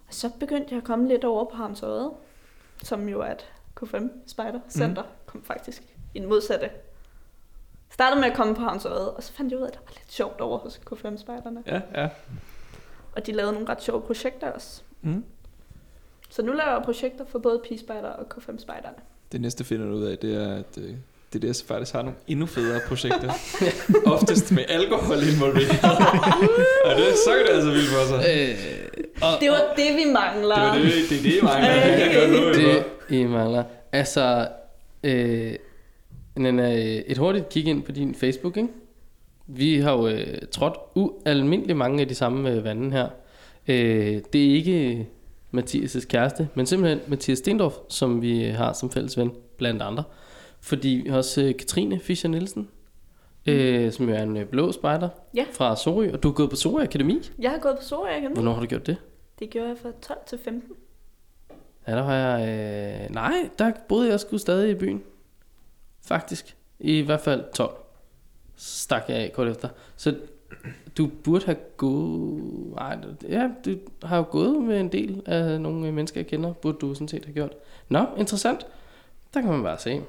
S4: Og så begyndte jeg at komme lidt over på Hamsøjet, som jo er et K5 Spider Center, mm. kom faktisk i den modsatte. Startede med at komme på Hamsøjet, og så fandt jeg ud af, at der var lidt sjovt over hos K5 Spejderne.
S1: Ja, ja.
S4: Og de lavede nogle ret sjove projekter også.
S1: Mm.
S4: Så nu laver jeg projekter for både P-Spejder og K5 Spejderne.
S1: Det næste finder du ud af, det er, at øh, det er der, så faktisk har nogle endnu federe projekter. Oftest med alkohol involveret. og det, så kan det altså vildt for sig.
S2: Øh, og,
S4: Det var det, vi mangler.
S1: Det var det, det, er det, mange
S2: Øh,
S4: Hey.
S1: jeg kan love jer
S2: det,
S1: for.
S2: I mangler. Altså, øh, Nana, øh, et hurtigt kig ind på din Facebook, ikke? Vi har jo øh, trådt ualmindelig mange af de samme øh, vande her. Øh, det er ikke Mathias' kæreste, men simpelthen Mathias Stendorf, som vi har som fælles ven, blandt andre. Fordi vi har også øh, Katrine Fischer Nielsen, øh, som jo er en øh, blå spejder
S4: Ja.
S2: fra Sorø, og du er gået på Sorø Akademi.
S4: Jeg har gået på Sorø Akademi.
S2: Hvornår har du gjort det?
S4: Det gjorde jeg fra 12 til 15.
S2: Ja, der var jeg... Øh, nej, der boede jeg sgu stadig i byen. Faktisk. I hvert fald 12. Så Stak jeg af kort efter. Så du burde have gået... Nej, det- ja, du har jo gået med en del af nogle øh, mennesker, jeg kender. Burde du sådan set have gjort. Nå, interessant. Der kan man bare se.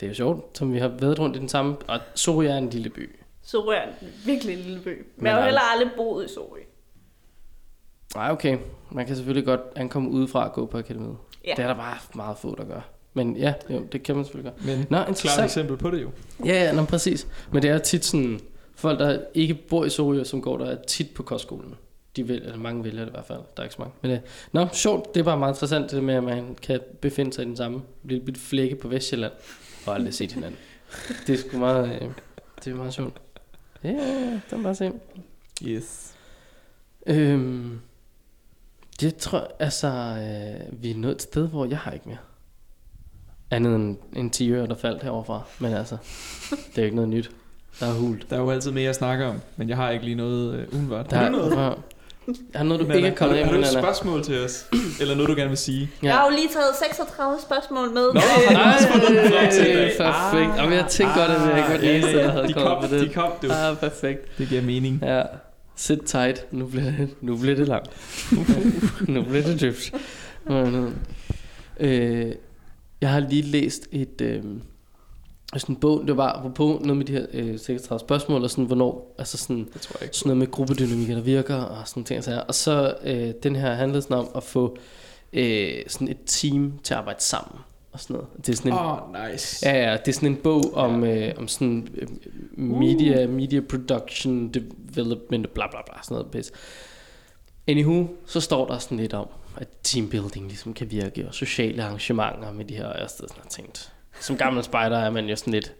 S2: Det er jo sjovt, som vi har været rundt i den samme... Og Sorø er en lille by.
S4: Sorø er en virkelig lille by. Men,
S2: Men
S4: jeg har jo
S2: aldrig-
S4: heller aldrig boet i Sorø.
S2: Nej, okay. Man kan selvfølgelig godt ankomme udefra og gå på akademiet.
S4: Ja.
S2: Det er der bare meget få, der gør. Men ja, jo, det kan man selvfølgelig gøre.
S1: Men
S2: Nå,
S1: klart
S2: interessant.
S1: eksempel på det jo.
S2: Ja, ja, nå, præcis. Men det er tit sådan, folk, der ikke bor i Sorø, som går der er tit på kostskolen. De vælger, eller mange vælger det i hvert fald. Der er ikke så mange. Men øh, nå, sjovt. Det er bare meget interessant, det med, at man kan befinde sig i den samme lille bitte flække på Vestjylland. Og aldrig set hinanden. Det er sgu meget, øh, det er meget sjovt. Ja, yeah, det er bare se.
S1: Yes.
S2: Øhm, jeg tror, altså, øh, vi er nået et sted, hvor jeg har ikke mere. Andet end en 10 øre, der faldt heroverfra. Men altså, det er jo ikke noget nyt. Der er hult.
S1: Der er jo altid mere at snakke om, men jeg har ikke lige noget øh, umiddelbart.
S2: Der
S1: Har
S2: er
S1: du noget?
S2: Var, der er noget, du
S1: Nana,
S2: ikke er kommet af
S1: har du,
S2: med,
S1: har du et
S2: Nana.
S1: spørgsmål til os? Eller noget, du gerne vil sige?
S4: Ja. Jeg har jo lige taget 36 spørgsmål med.
S1: Nå,
S4: Øh,
S2: Nej,
S1: Perfekt.
S2: perfekt. Jamen, jeg tænkte godt, at jeg godt
S1: Ah, Ja,
S2: eneste,
S1: Ah, ja,
S2: der havde
S1: de
S2: kommet
S1: kom,
S2: på det.
S1: De kom, du.
S2: Ah, perfekt.
S1: Det giver mening.
S2: Ja. Sit tight. Nu bliver det, nu bliver det langt. nu bliver det dybt. Men, øh, jeg har lige læst et... Øh, sådan en bog, det var på noget med de her øh, 36 spørgsmål, og sådan, hvornår, altså sådan,
S1: Det tror jeg ikke.
S2: sådan noget med gruppedynamikker, der virker, og sådan ting. og sager. Og så øh, den her handlede sådan om at få øh, sådan et team til at arbejde sammen. Og sådan noget. Det er sådan en,
S1: Åh, oh, nice.
S2: Ja, ja, det er sådan en bog om, øh, om sådan øh, media, media production, development, bla bla bla, sådan noget pis. Anywho, så står der sådan lidt om, at teambuilding ligesom kan virke, og sociale arrangementer med de her, og jeg stod sådan og tænkt, som gammel spejder er man jo sådan lidt,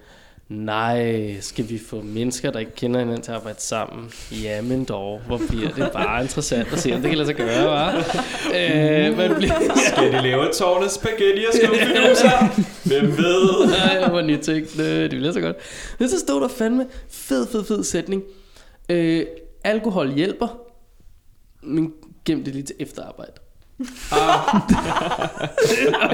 S2: nej, skal vi få mennesker, der ikke kender hinanden til at arbejde sammen? Jamen dog, hvor bliver det bare interessant at se, om det kan lade sig gøre, hva'? Øh, man bliver,
S1: Skal de lave et tårn af spaghetti og skumfiguser? Hvem ved?
S2: Nej, hvor nytænkende. Det bliver så godt. Men så stod der fandme fed, fed, fed sætning. Øh, alkohol hjælper, men gem det lige til efterarbejde. Ah.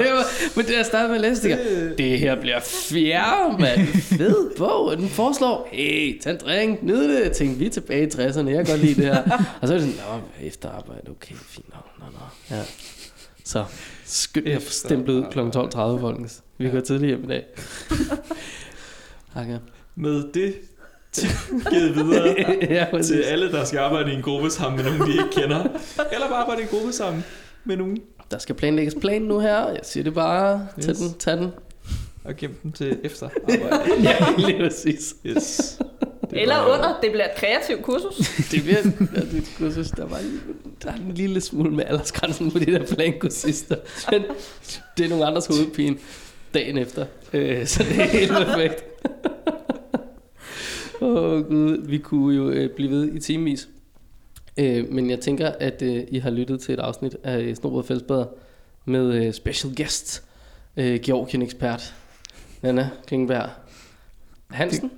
S2: det var, men det jeg startede med at læse, tænker jeg, det her bliver fjerde, mand. Fed bog. Og den foreslår, hey, tag en drink, nyd det. Jeg tænkte, vi er tilbage i 60'erne, jeg kan godt lide det her. Og så er det sådan, nå, efterarbejde, okay, fint. Nå, nå, nå. Ja. Så skynd jeg stemplet ud kl. 12.30, folkens. Vi går tidligt hjem i dag. Okay.
S1: Med det tip givet videre
S2: ja,
S1: til
S2: præcis.
S1: alle, der skal arbejde i en gruppe sammen med nogen, de ikke kender. Eller bare arbejde i en gruppe sammen med nogen
S2: Der skal planlægges plan nu her. Jeg siger det bare. Tag
S1: Yes.
S2: den, tag den.
S1: og gem dem til efter arbejde.
S2: ja, lige præcis.
S1: Yes. Det er
S4: Eller
S1: bare-
S4: under. Det bliver et kreativt kursus.
S2: Det bliver ja, det kursus, der var lige- der er en lille smule med aldersgrænsen på de der plankursister. Men det er nogle andres hovedpine dagen efter. Øh, så det er helt perfekt. Åh oh, gud, vi kunne jo øh, blive ved i timevis. Øh, men jeg tænker, at øh, I har lyttet til et afsnit af Snobrød Fællesbader med øh, special guest, øh, Georgien-ekspert, Nana Klingberg Hansen.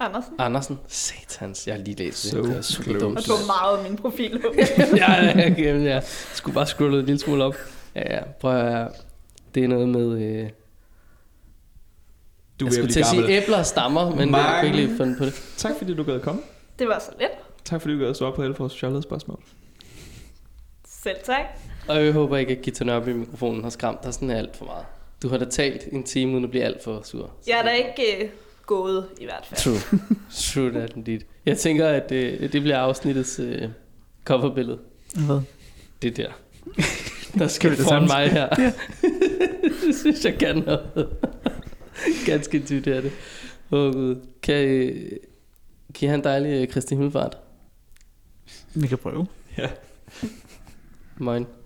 S4: Andersen.
S2: Andersen. Satans, jeg har lige læst det.
S1: So
S2: det er super
S1: close.
S4: Og
S2: dumt.
S4: du har meget af min profil.
S2: ja, ja, okay, men jeg skulle bare scrolle en lille smule op. Ja, ja, prøv at høre. Det er noget med... Øh,
S1: Du
S2: jeg
S1: er
S2: skulle
S1: blive
S2: til at sige
S1: gammel.
S2: æbler og stammer, men Mange. jeg kunne ikke lige finde på det.
S1: Tak fordi du gad komme.
S4: Det var så let.
S1: Tak fordi du gad at svare på alle vores fjollede spørgsmål.
S4: Selv tak.
S2: Og jeg håber ikke, at Gita Nørby i mikrofonen har skræmt dig sådan alt for meget. Du har da talt en time, uden at blive alt for sur.
S4: Jeg er da ikke øh, gået i hvert fald.
S2: True. True that indeed. Jeg tænker, at øh, det bliver afsnittets øh, coverbillede.
S3: Hvad?
S2: Det der. Der skal
S3: Det
S2: du
S3: er
S2: foran
S3: det samme.
S2: mig her. det synes jeg kan noget. Ganske tydeligt er det. Åh oh, gud. Kan, øh, kan I have en dejlig øh, Kristi Himmelfart?
S3: Vi kan prøve.
S1: Ja.
S2: Moin.